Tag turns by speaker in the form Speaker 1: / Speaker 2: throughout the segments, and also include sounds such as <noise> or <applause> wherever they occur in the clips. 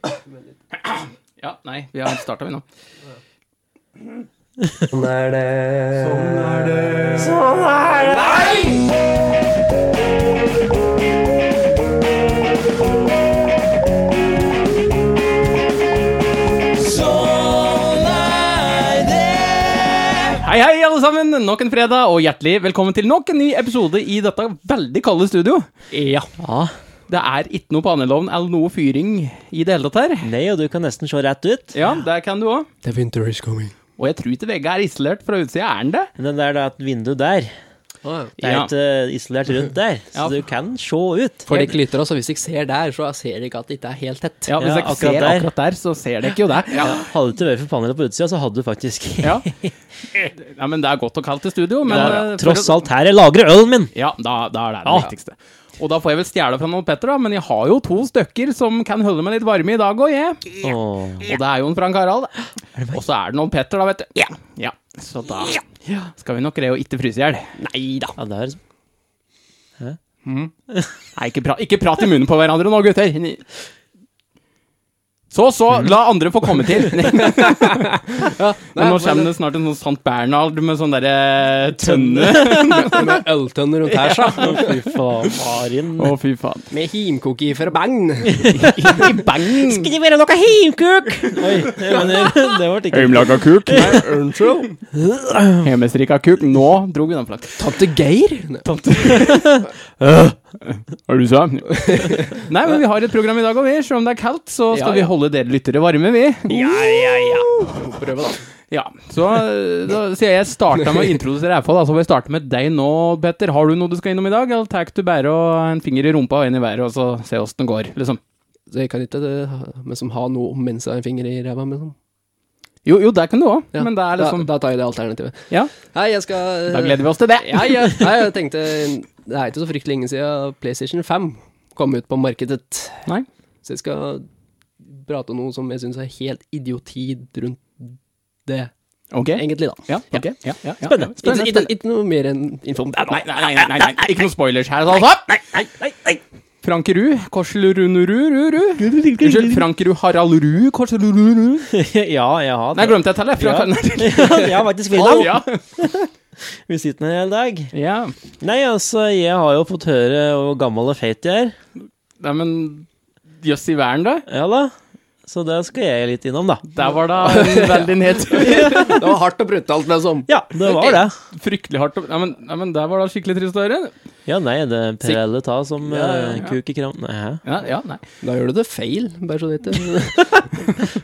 Speaker 1: komme litt.
Speaker 2: Ja, nei, vi har starta, vi nå.
Speaker 3: Sånn er det. Sånn
Speaker 2: Hei, hei, alle sammen! Nok en fredag, og hjertelig velkommen til nok en ny episode i dette veldig kalde studio. Ja. Det er ikke noe panelovn eller noe fyring i det hele tatt her.
Speaker 3: Nei, og du kan nesten se rett ut.
Speaker 2: Ja, der kan du òg.
Speaker 1: The winter is coming.
Speaker 2: Og jeg tror ikke veggen er isolert fra utsida, er den det?
Speaker 3: Men det er da et vindu der. Det er
Speaker 2: Ja.
Speaker 3: et eh, isolert rundt der, så
Speaker 2: Ja.
Speaker 3: du kan se ut.
Speaker 1: For dere lytter også, altså? hvis dere ser der, så ser dere ikke at det ikke er helt tett.
Speaker 2: Ja, hvis
Speaker 3: Ja,
Speaker 2: dere
Speaker 3: akkurat
Speaker 2: ser
Speaker 3: der.
Speaker 2: akkurat der, så ser dere ikke jo det. Ja.
Speaker 3: Hadde du ikke vært for panelet på utsida, så hadde du faktisk
Speaker 2: Ja. ja, men det er godt og kaldt i studio, men
Speaker 3: <laughs> Ja,
Speaker 2: eh,
Speaker 3: Tross
Speaker 2: for å-
Speaker 3: alt, Ah. her jeg lagrer ølen min!
Speaker 2: Ja, da, da er det det viktigste. Og da får jeg vel stjele fra noen Petter, da, men jeg har jo to stykker som kan holde meg litt varme i dag òg, jeg.
Speaker 3: Åh.
Speaker 2: Og det er jo en Frank Harald. Og så er det noen Petter, da, vet du. Ja. ja. Så da skal vi nok greie å ikke fryse i hjel. Nei da.
Speaker 3: Ja, det er
Speaker 2: Nei, ikke, pra ikke prat i munnen på hverandre nå, gutter. Ni- Så, så, la andre få komme til. <laughs> Men nå kommer det snart en sånn Sant Bernhard med sånn derre tønne.
Speaker 1: <laughs>
Speaker 2: <laughs>
Speaker 1: Med øltønner rundt her, så.
Speaker 3: Fy faen.
Speaker 2: Å, fy faen.
Speaker 1: Med himkoki fra
Speaker 2: <laughs>
Speaker 1: bang.
Speaker 2: I bang!
Speaker 3: Skal det være noe heimkuk? Oi, jeg mener, <laughs> det ble ikke
Speaker 2: Heimlaga kuk.
Speaker 1: Unnskyld.
Speaker 2: <laughs> Hjemmestrikka kuk. Nå dro vi den for langt.
Speaker 1: Tante Geir.
Speaker 2: Hva er det du sa? <laughs> Nei, men vi har et program i dag òg, vi. Selv om det er kaldt, så skal
Speaker 1: Ja,
Speaker 2: vi
Speaker 1: ja.
Speaker 2: holde dere lyttere varme, vi.
Speaker 1: Prøve, da.
Speaker 2: Ja, så eh, da sier jeg starta med å introdusere RFA, da, så får jeg starte med deg nå, Petter. Har du noe du skal innom i dag, eller tar du bare og en finger i rumpa og en i været, og så se åssen det går, liksom?
Speaker 1: Så jeg kan ikke det, men som har noe mens jeg har en finger i ræva. men sånn.
Speaker 2: Jo, jo, det kan du òg,
Speaker 1: Ja,
Speaker 2: men det er liksom
Speaker 1: da, da tar jeg det alternativet.
Speaker 2: Ja,
Speaker 1: Nei, jeg skal
Speaker 2: da gleder vi oss til det.
Speaker 1: Ja, ja, nei, jeg tenkte Det er ikke så fryktelig lenge siden PlayStation 5 kom ut på markedet.
Speaker 2: <laughs> Nei.
Speaker 1: Så jeg skal prate om noe som jeg syns er helt idiotid rundt det,
Speaker 2: Ok.
Speaker 1: egentlig, da.
Speaker 2: Ja, ok. Ja, ja, ja.
Speaker 3: Spennende.
Speaker 1: Ikke- Ikke ikke noe mer enn info om det.
Speaker 2: Nei, nei, nei, nei, nei, nei. Ikke noen spoilers her, altså. Nei, nei, nei, nei. Frankerud, Korselurunuru Unnskyld, Frankerud Haraldrud, Korselurunuru
Speaker 3: <laughs> Ja, jeg
Speaker 2: Nei,
Speaker 3: har det.
Speaker 2: jeg glemte jeg tallet. Fra
Speaker 3: Jeg har faktisk villet
Speaker 2: <laughs> ja.
Speaker 3: Vi sitter her hele dag.
Speaker 2: ja.
Speaker 3: Nei, altså, jeg har jo fått høre hvor gammel og feit jeg er.
Speaker 2: Nei, men jøss i verden, da.
Speaker 3: Ja da. Så det skal jeg litt innom, da.
Speaker 2: Der var <laughs> da en veldig nedtur.
Speaker 1: Det var hardt og brutalt, liksom.
Speaker 3: Ja, det var
Speaker 2: Ok.
Speaker 3: det.
Speaker 2: <laughs> Fryktelig hardt. å- Nei, men, nei, men der var da skikkelig trist å høre.
Speaker 3: Ja, nei, det er
Speaker 2: Sik-
Speaker 3: Per Elle ta som
Speaker 1: Ja, ja,
Speaker 3: eh,
Speaker 2: ja.
Speaker 3: kuk i kram... Nei, hæ?
Speaker 2: Ja, ja, nei.
Speaker 1: Da gjør du det feil, bare så det ikke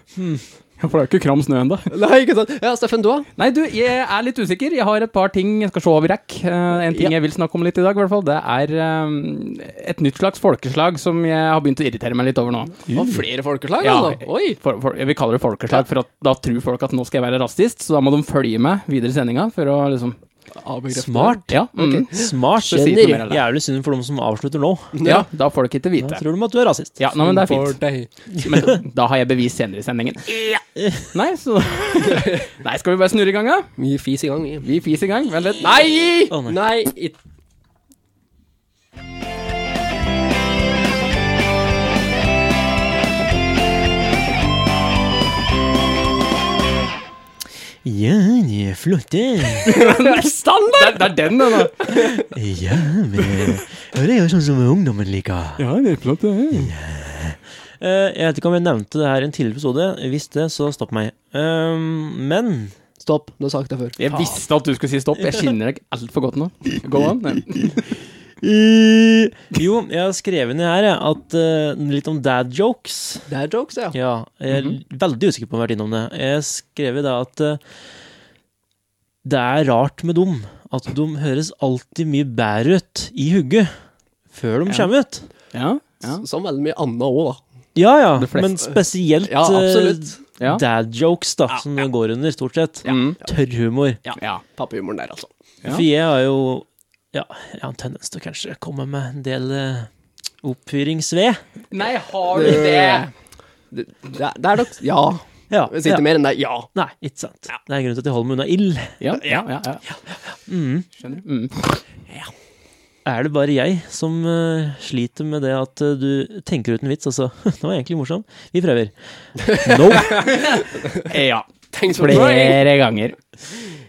Speaker 2: Ja, For det er jo ikke kram snø ennå.
Speaker 1: <laughs> Nei, ikke sant. Ja, Steffen, du, da?
Speaker 2: Nei, du, jeg er litt usikker. Jeg har et par ting jeg skal se over rekk. Eh, en ting jeg vil snakke om litt i dag, i hvert fall, det er eh, et nytt slags folkeslag som jeg har begynt å irritere meg litt over nå.
Speaker 1: Og flere folkeslag,
Speaker 2: Ja.
Speaker 1: altså? Oi!
Speaker 2: For, for, jeg vil kalle det folkeslag, for at, da tror folk at nå skal jeg være rasist, så da må de følge med videre i sendinga for å liksom
Speaker 1: Avbegrepet.
Speaker 3: Smart.
Speaker 2: Ja, mm,
Speaker 3: Smart.
Speaker 2: Så si ikke mer av det.
Speaker 3: Jævlig synd for dem som avslutter nå.
Speaker 2: ja da får dere ikke
Speaker 3: Da
Speaker 2: vite.
Speaker 3: tror de at du er rasist.
Speaker 2: Ja, nei, men det er
Speaker 1: For
Speaker 2: fint.
Speaker 1: deg.
Speaker 2: Men da har jeg bevis senere i sendingen. Nei, så <laughs> Nei, skal vi bare snurre i gang, da?
Speaker 1: Vi fis i gang, vi.
Speaker 2: Vi fiser i gang. Vent litt.
Speaker 1: Nei!
Speaker 3: Å, nei.
Speaker 1: Nei, ikke
Speaker 3: Ja, de er flotte.
Speaker 2: Det, er- det er den, den, da.
Speaker 3: Ja, men Det er jo sånn som ungdommen liker. Eh,
Speaker 2: Ja, det er flott, det.
Speaker 3: jeg vet ikke om jeg nevnte det her i en tidligere episode. Hvis det, så stopp meg. Ehm, men
Speaker 1: Stopp, du har sagt det før.
Speaker 2: Jeg visste at du skulle si stopp. Jeg kjenner deg altfor godt nå. Go on.
Speaker 3: eh, Jo, jeg har skrevet ned her jeg, at eh, litt om dad jokes.
Speaker 1: Det er jokes, ja.
Speaker 3: Ja, jeg er
Speaker 2: Mhm.
Speaker 3: veldig usikker på om jeg har vært innom det. Jeg skrev i det at eh, det er rart med dem. At de høres alltid mye bedre ut i hugget før de
Speaker 2: Ja.
Speaker 3: kommer ut.
Speaker 2: Ja, ja.
Speaker 1: Som veldig mye annet òg, da.
Speaker 3: Ja ja,
Speaker 2: De fleste-
Speaker 3: men spesielt eh,
Speaker 1: Ja, absolutt.
Speaker 2: ja.
Speaker 3: dad jokes, da, som det går under, stort sett.
Speaker 2: Mm.
Speaker 3: Tørr humor.
Speaker 2: ja.
Speaker 1: Pappehumoren der, altså.
Speaker 2: Ja.
Speaker 3: For jeg har jo ja, jeg har en tendens til å kanskje komme med en del uh, oppfyringsved.
Speaker 2: Nei, har du det?
Speaker 1: Det, det, er- det er nok <laughs> Ja.
Speaker 3: Ja,
Speaker 1: Hvis ikke
Speaker 3: ja.
Speaker 1: mer enn det, ja.
Speaker 3: Nei, ikke sant. Det er grunnen til at jeg holder meg unna ild.
Speaker 2: Ja, ja, ja. ja.
Speaker 3: Mm.
Speaker 2: Skjønner du? Mm.
Speaker 3: er det bare jeg som eh, sliter med det at eh, du tenker ut en vits, altså. <laughs> Det var egentlig morsom.
Speaker 2: <laughs>
Speaker 3: Vi prøver. Nope.
Speaker 2: Ja.
Speaker 1: Thanks for trying!
Speaker 2: Flere ganger.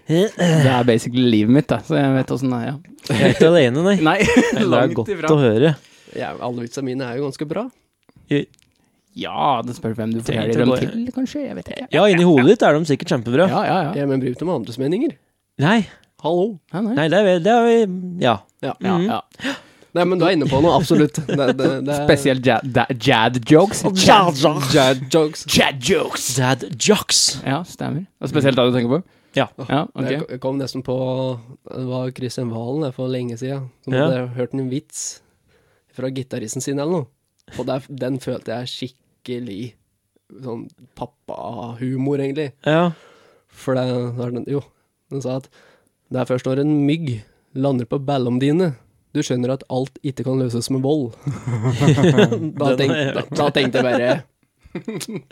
Speaker 3: Jeg
Speaker 2: Det er basically livet mitt, da. så jeg vet åssen det er. Ja.
Speaker 3: er ikke alene, nei.
Speaker 2: Nei,
Speaker 3: Det er
Speaker 2: langt
Speaker 3: godt
Speaker 2: ifra.
Speaker 3: å høre.
Speaker 1: Ja, alle vitsene mine er jo ganske bra.
Speaker 2: Ja, det spørs hvem du forteller
Speaker 3: Trenger ikke
Speaker 2: dem
Speaker 3: å gå-
Speaker 2: til, kanskje. Jeg vet ikke.
Speaker 3: Ja, inni hodet ditt er de sikkert kjempebra.
Speaker 2: Ja, ja, ja.
Speaker 1: Ja, men bruk dem med andres meninger.
Speaker 3: Nei,
Speaker 1: Hallo.
Speaker 2: ja nei. Mm.
Speaker 3: nei, det er, vel- det er Ja.
Speaker 1: Ja.
Speaker 2: Ja, ja.
Speaker 1: Nei, men du er inne på noe, absolutt. Det, det, det er
Speaker 2: Spesielt ja- da- jad jokes.
Speaker 1: Jad jokes.
Speaker 2: Jad jokes!
Speaker 3: Dad jocks.
Speaker 2: Ja, stemmer. Og spesielt da du tenker på?
Speaker 3: Ja.
Speaker 2: Ja, <laughs> ok.
Speaker 1: Jeg kom nesten på Det var Christian Valen det, for lenge siden. Som
Speaker 3: Ja.
Speaker 1: hadde hørt en vits fra gitaristen sin eller noe. Og der, den følte jeg skikkelig sånn pappahumor, egentlig.
Speaker 3: Ja.
Speaker 1: For det var den Jo, den sa at det er først når en mygg lander på ballene dine, du skjønner at alt ikke kan løses med vold. da,
Speaker 3: Den
Speaker 1: tenk,
Speaker 3: har jeg
Speaker 1: da,
Speaker 3: hørt.
Speaker 1: da tenkte jeg bare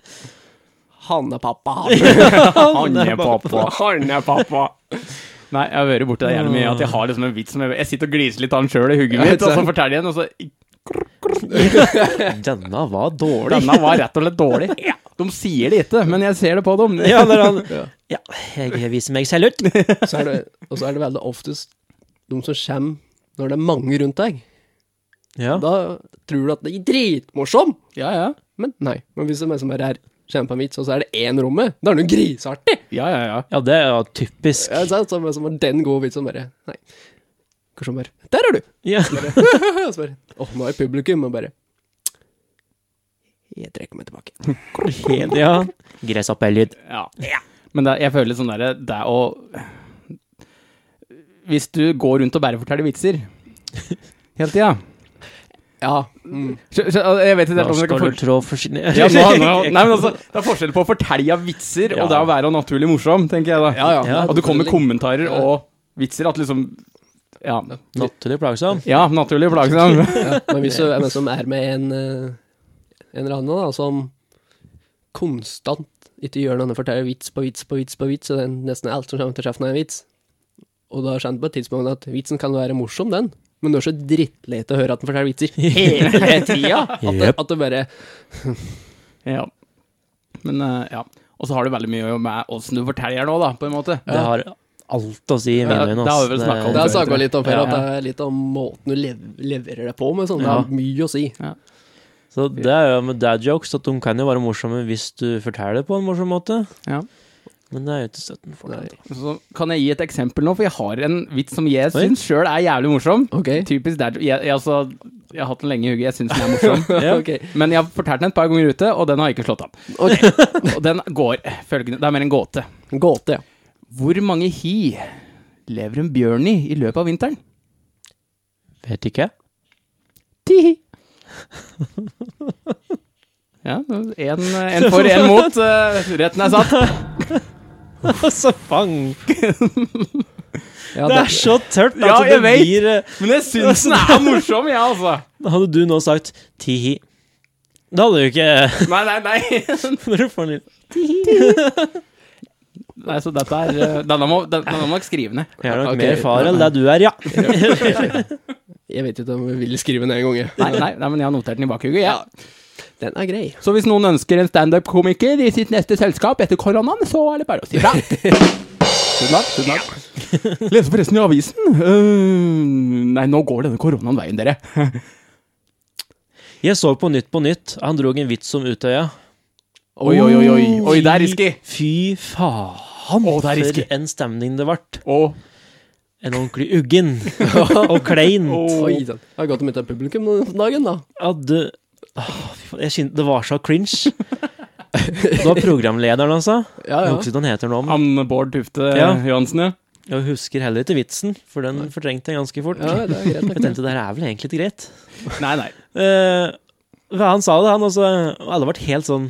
Speaker 1: Hannepappa.
Speaker 2: Han er pappa. Han er pappa. Nei, jeg har vært borti det jævlig mye. At jeg har liksom en vits som jeg Jeg sitter og gliser litt av den sjøl i hugget mitt, og så forteller jeg den, og så
Speaker 3: Denne var
Speaker 2: <laughs>
Speaker 3: dårlig.
Speaker 2: Denne var rett og slett dårlig. <laughs> De sier det ikke, men jeg ser det på dem.
Speaker 3: Ja, når han Ja, jeg viser meg selv ut.
Speaker 1: så er det, og så er det veldig oftest de som kommer når det er mange rundt deg.
Speaker 3: Ja.
Speaker 1: Da tror du at det er dritmorsom,
Speaker 2: Ja, ja.
Speaker 1: men nei. Men hvis det er meg som er her, kommer på en vits, og så er det én rommet, da er det jo griseartig!
Speaker 2: Ja, ja, ja.
Speaker 3: Ja, det er jo typisk.
Speaker 1: Ja, ikke sant? Så er det som har den gode vitsen, bare Nei. Kanskje han bare Der er du! <laughs>
Speaker 3: Ja.
Speaker 1: Og så bare Åh, nå er publikum, og bare Jeg trekker meg tilbake.
Speaker 3: Helt, ja. Gresshoppelyd.
Speaker 2: Ja. Men det, jeg føler litt sånn derre Det å Hvis du går rundt og bare forteller <laughs> vitser hele tida
Speaker 1: Ja. Mm.
Speaker 2: altså, Jeg vet ikke
Speaker 3: Da
Speaker 2: helt om jeg
Speaker 3: skal
Speaker 2: sånn kan
Speaker 3: du
Speaker 2: for...
Speaker 3: trå forsyne...
Speaker 2: ja, nå, nå, <laughs> nei, men altså, Det er forskjell på å fortelle vitser og det å være naturlig morsom, tenker jeg da.
Speaker 1: Ja, ja.
Speaker 3: Ja,
Speaker 2: At du kommer med kommentarer
Speaker 1: Ja.
Speaker 2: og vitser. At liksom Ja,
Speaker 3: <laughs> Naturlig plagsom.
Speaker 2: ja naturlig plagsom. <laughs>
Speaker 1: Ja, men hvis du er med, som er med en, eh, en eller annen da, som konstant ikke gjør noe annet, forteller vits på vits på vits på vits, og det er nesten alt som kommer til kjeften er en vits, og da skjønner du på et tidspunkt at vitsen kan være morsom, den, men du er så drittlei til å høre at den forteller vitser hele tida. At, det-
Speaker 3: Jep.
Speaker 1: at du bare
Speaker 2: Ja. Men eh, ja. Og så har det veldig mye å gjøre med åssen du forteller nå, da, på en måte.
Speaker 3: Det har alt å si i mine
Speaker 2: Ja,
Speaker 3: øyne.
Speaker 2: det har
Speaker 3: ass.
Speaker 2: vi vel snakket om
Speaker 1: Det har jeg
Speaker 2: før.
Speaker 1: snakka litt om før,
Speaker 2: Ja,
Speaker 1: at det er litt om måten du lev leverer det på med, sånn. Det
Speaker 3: Ja.
Speaker 1: har mye å si.
Speaker 3: Så det er jo med dad jokes at de kan jo være morsomme hvis du forteller det på en morsom måte.
Speaker 2: Ja.
Speaker 3: Men det er jo ikke støtten for det.
Speaker 2: Så kan jeg gi et eksempel nå, for jeg har en vits som jeg
Speaker 3: Oi.
Speaker 2: syns sjøl er jævlig morsom.
Speaker 1: Ok.
Speaker 2: Typisk dad jeg, jeg, altså, jeg har hatt den lenge i hugget, jeg syns den er
Speaker 3: <laughs>
Speaker 2: morsom.
Speaker 3: Ja.
Speaker 1: Ok.
Speaker 2: Men jeg har fortalt den et par ganger ute, og den har ikke slått an.
Speaker 1: Ok.
Speaker 2: <laughs> Og den går følgende Det er mer en gåte.
Speaker 1: Gåte, ja.
Speaker 2: Hvor mange hi lever en bjørn i i løpet av vinteren?
Speaker 3: Vet
Speaker 2: <laughs>
Speaker 3: ikke.
Speaker 2: Ti
Speaker 3: <laughs>
Speaker 2: hi. Ja, en, en for, en mot. eh, Retten er
Speaker 3: <laughs>
Speaker 2: satt.
Speaker 3: Altså, fank!
Speaker 1: ja
Speaker 3: Det er så tørt!
Speaker 2: Ja,
Speaker 3: at
Speaker 2: jeg
Speaker 3: det
Speaker 2: vet.
Speaker 3: blir eh,
Speaker 2: Men jeg syns den er morsom, jeg, altså.
Speaker 3: Hadde du nå sagt tihi Da hadde du ikke <laughs>
Speaker 2: Nei, nei, nei.
Speaker 3: Når du får den inn.
Speaker 2: Nei, så dette er eh, Denne må den- denne må nok skrive ned.
Speaker 3: Jeg er nok
Speaker 1: Ok.
Speaker 3: mer far enn det du
Speaker 2: <laughs>
Speaker 3: er, ja.
Speaker 1: Jeg vet ikke om jeg ville skrive den en gang, jeg.
Speaker 2: Nei, nei, nei, men jeg har notert den i bakhugget. Ja.
Speaker 1: Den er grei.
Speaker 2: Så hvis noen ønsker en standup-komiker i sitt neste selskap etter koronaen, så er det bare å si fra. Tusen takk. Tusen takk. <laughs> Leser forresten i avisen. Øh, nei, nå går denne koronaen veien, dere.
Speaker 3: Jeg så på Nytt på Nytt. Han dro en vits om Utøya.
Speaker 2: <laughs> Oi, oi, oi. Oi, oi det er risky.
Speaker 3: Fy faen,
Speaker 2: Å, det er risky.
Speaker 3: for en stemning det ble.
Speaker 2: Og
Speaker 3: En ordentlig uggen
Speaker 1: <laughs>
Speaker 3: og
Speaker 2: <laughs>
Speaker 3: kleint.
Speaker 1: Oi, sant. Det har gått mye av publikum den dagen, da.
Speaker 3: Ja, du Åh, fy faen, jeg kjen- Det var så cringe. <laughs> Det var programlederen, altså.
Speaker 1: Ja,
Speaker 3: Jeg
Speaker 1: ja.
Speaker 3: husker ikke hva han heter nå. men
Speaker 2: Anne Bård Tufte
Speaker 3: Ja.
Speaker 2: Johansen, ja.
Speaker 3: Jeg husker heller ikke vitsen, for den fortrengte jeg ganske fort.
Speaker 1: ja det er greit.
Speaker 3: Jeg tenkte det her er vel egentlig ikke greit.
Speaker 2: Nei, nei.
Speaker 3: Eh, hva han sa det, han også. Og alle ble helt sånn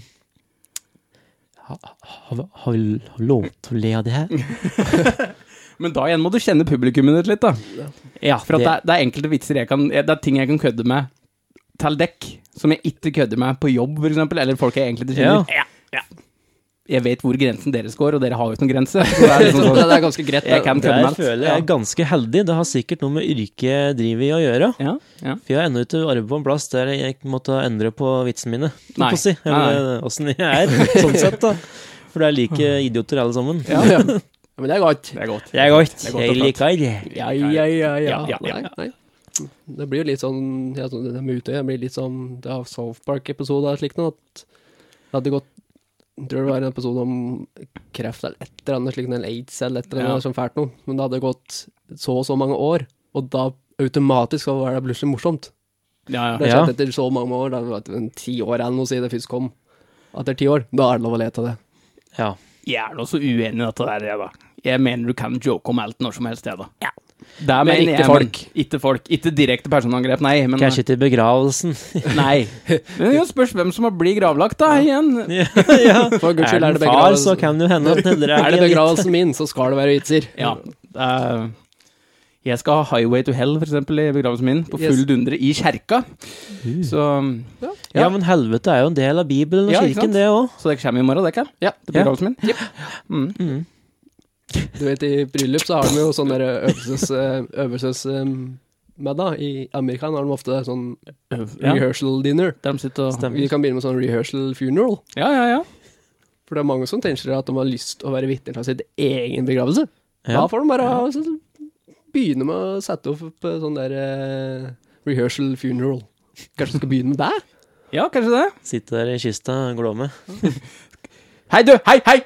Speaker 3: "Ha- Har vi- har vi har vi lov til å le av det her?
Speaker 2: Men da igjen må du kjenne publikummet ditt litt, da.
Speaker 3: Ja,
Speaker 2: For at det, er- det er enkelte vitser jeg kan Det er ting jeg kan kødde med til dekk, som jeg ikke kødder med på jobb, for eksempel, eller folk jeg egentlig ikke kjenner. jeg vet hvor grensen deres går, og dere har jo ikke noen grense. Så <laughs> det er liksom
Speaker 1: Så
Speaker 2: sånn,
Speaker 1: det er ganske greit.
Speaker 2: jeg kan kødde
Speaker 3: Der
Speaker 2: med alt.
Speaker 3: føler jeg er ganske heldig. Det har sikkert noe med yrket jeg driver i å gjøre.
Speaker 2: Ja, ja.
Speaker 3: For jeg har ennå ikke arbeidet på en plass der jeg måtte endre på vitsene mine. holdt
Speaker 2: Nei.
Speaker 3: på å Si. Eller åssen jeg er, sånn sett, da. For det er
Speaker 2: <laughs>
Speaker 3: like idioter alle sammen.
Speaker 2: Ja.
Speaker 1: Ja, men det er godt.
Speaker 2: Det er godt.
Speaker 3: Det er godt.
Speaker 2: Det er godt
Speaker 3: Jeg
Speaker 2: og
Speaker 3: liker det.
Speaker 2: Ja, ja, ja, ja.
Speaker 1: Ja, nei, nei. Det blir jo litt sånn ja, sånn, Det med Utøya blir litt sånn Det er South Park-episode eller slikt noe. At det hadde gått jeg tror det var en episode om kreft eller et eller annet slikt, eller aids eller et eller annet
Speaker 2: Ja.
Speaker 1: sånn fælt noe. Men det hadde gått så og så mange år, og da automatisk så var det plutselig morsomt.
Speaker 2: Ja,
Speaker 1: Det
Speaker 2: ja.
Speaker 1: har
Speaker 3: Ja.
Speaker 1: skjedd etter så mange år, da det var en ti år eller noe siden det først kom. Etter ti år, da er det lov å le av det.
Speaker 3: Ja.
Speaker 2: Jeg er nå så uenig i dette der, jeg, da. Jeg mener du kan joke om alt når som helst, jeg, da.
Speaker 1: Ja.
Speaker 2: Der
Speaker 1: Men
Speaker 2: mener
Speaker 1: ikke
Speaker 2: jeg,
Speaker 1: folk.
Speaker 2: Men, ikke folk. Ikke direkte personangrep, nei. Men, eh,
Speaker 3: Kanskje til begravelsen.
Speaker 2: <laughs> Nei. Men det spørs hvem som blir gravlagt, da, igjen.
Speaker 3: ja. ja.
Speaker 1: For guds
Speaker 3: Er
Speaker 1: skyld er
Speaker 3: den
Speaker 1: det
Speaker 3: far, så
Speaker 1: begravelse.
Speaker 3: kan det jo hende at
Speaker 2: <laughs>
Speaker 3: dere
Speaker 1: <laughs> Er det
Speaker 3: litt-
Speaker 1: begravelsen min, så skal det være vitser.
Speaker 2: Ja. eh, jeg skal ha Highway to Hell, for eksempel, i begravelsen min. På full
Speaker 1: Yes.
Speaker 2: dundre i kjerka. Så,
Speaker 3: Ja. men helvete er jo en del av Bibelen og
Speaker 2: Ja, ikke sant?
Speaker 3: kirken, det òg.
Speaker 2: så det kommer i morgen, det, ikke?
Speaker 1: Ja.
Speaker 2: Til begravelsen min. Mm.
Speaker 3: Mm.
Speaker 1: Du vet, i bryllup så har de jo sånn derre øvelses... eh, øvelses em, med da, I Amerika har de ofte sånn
Speaker 2: Ja.
Speaker 1: rehearsal dinner.
Speaker 2: Der de sitter og
Speaker 3: Stemmer.
Speaker 1: Vi kan begynne med sånn rehearsal funeral.
Speaker 2: Ja, ja, ja.
Speaker 1: For det er mange som tenker at de har lyst å være vitne til sin egen begravelse.
Speaker 3: Ja.
Speaker 1: Da får de bare altså, begynne med å sette opp eh, sånn der eh, rehearsal funeral. Kanskje du skal begynne med det?
Speaker 2: Ja, kanskje det.
Speaker 3: Sitte der i kista og
Speaker 2: <laughs>
Speaker 3: glåme.
Speaker 2: Hei, du! Hei, hei!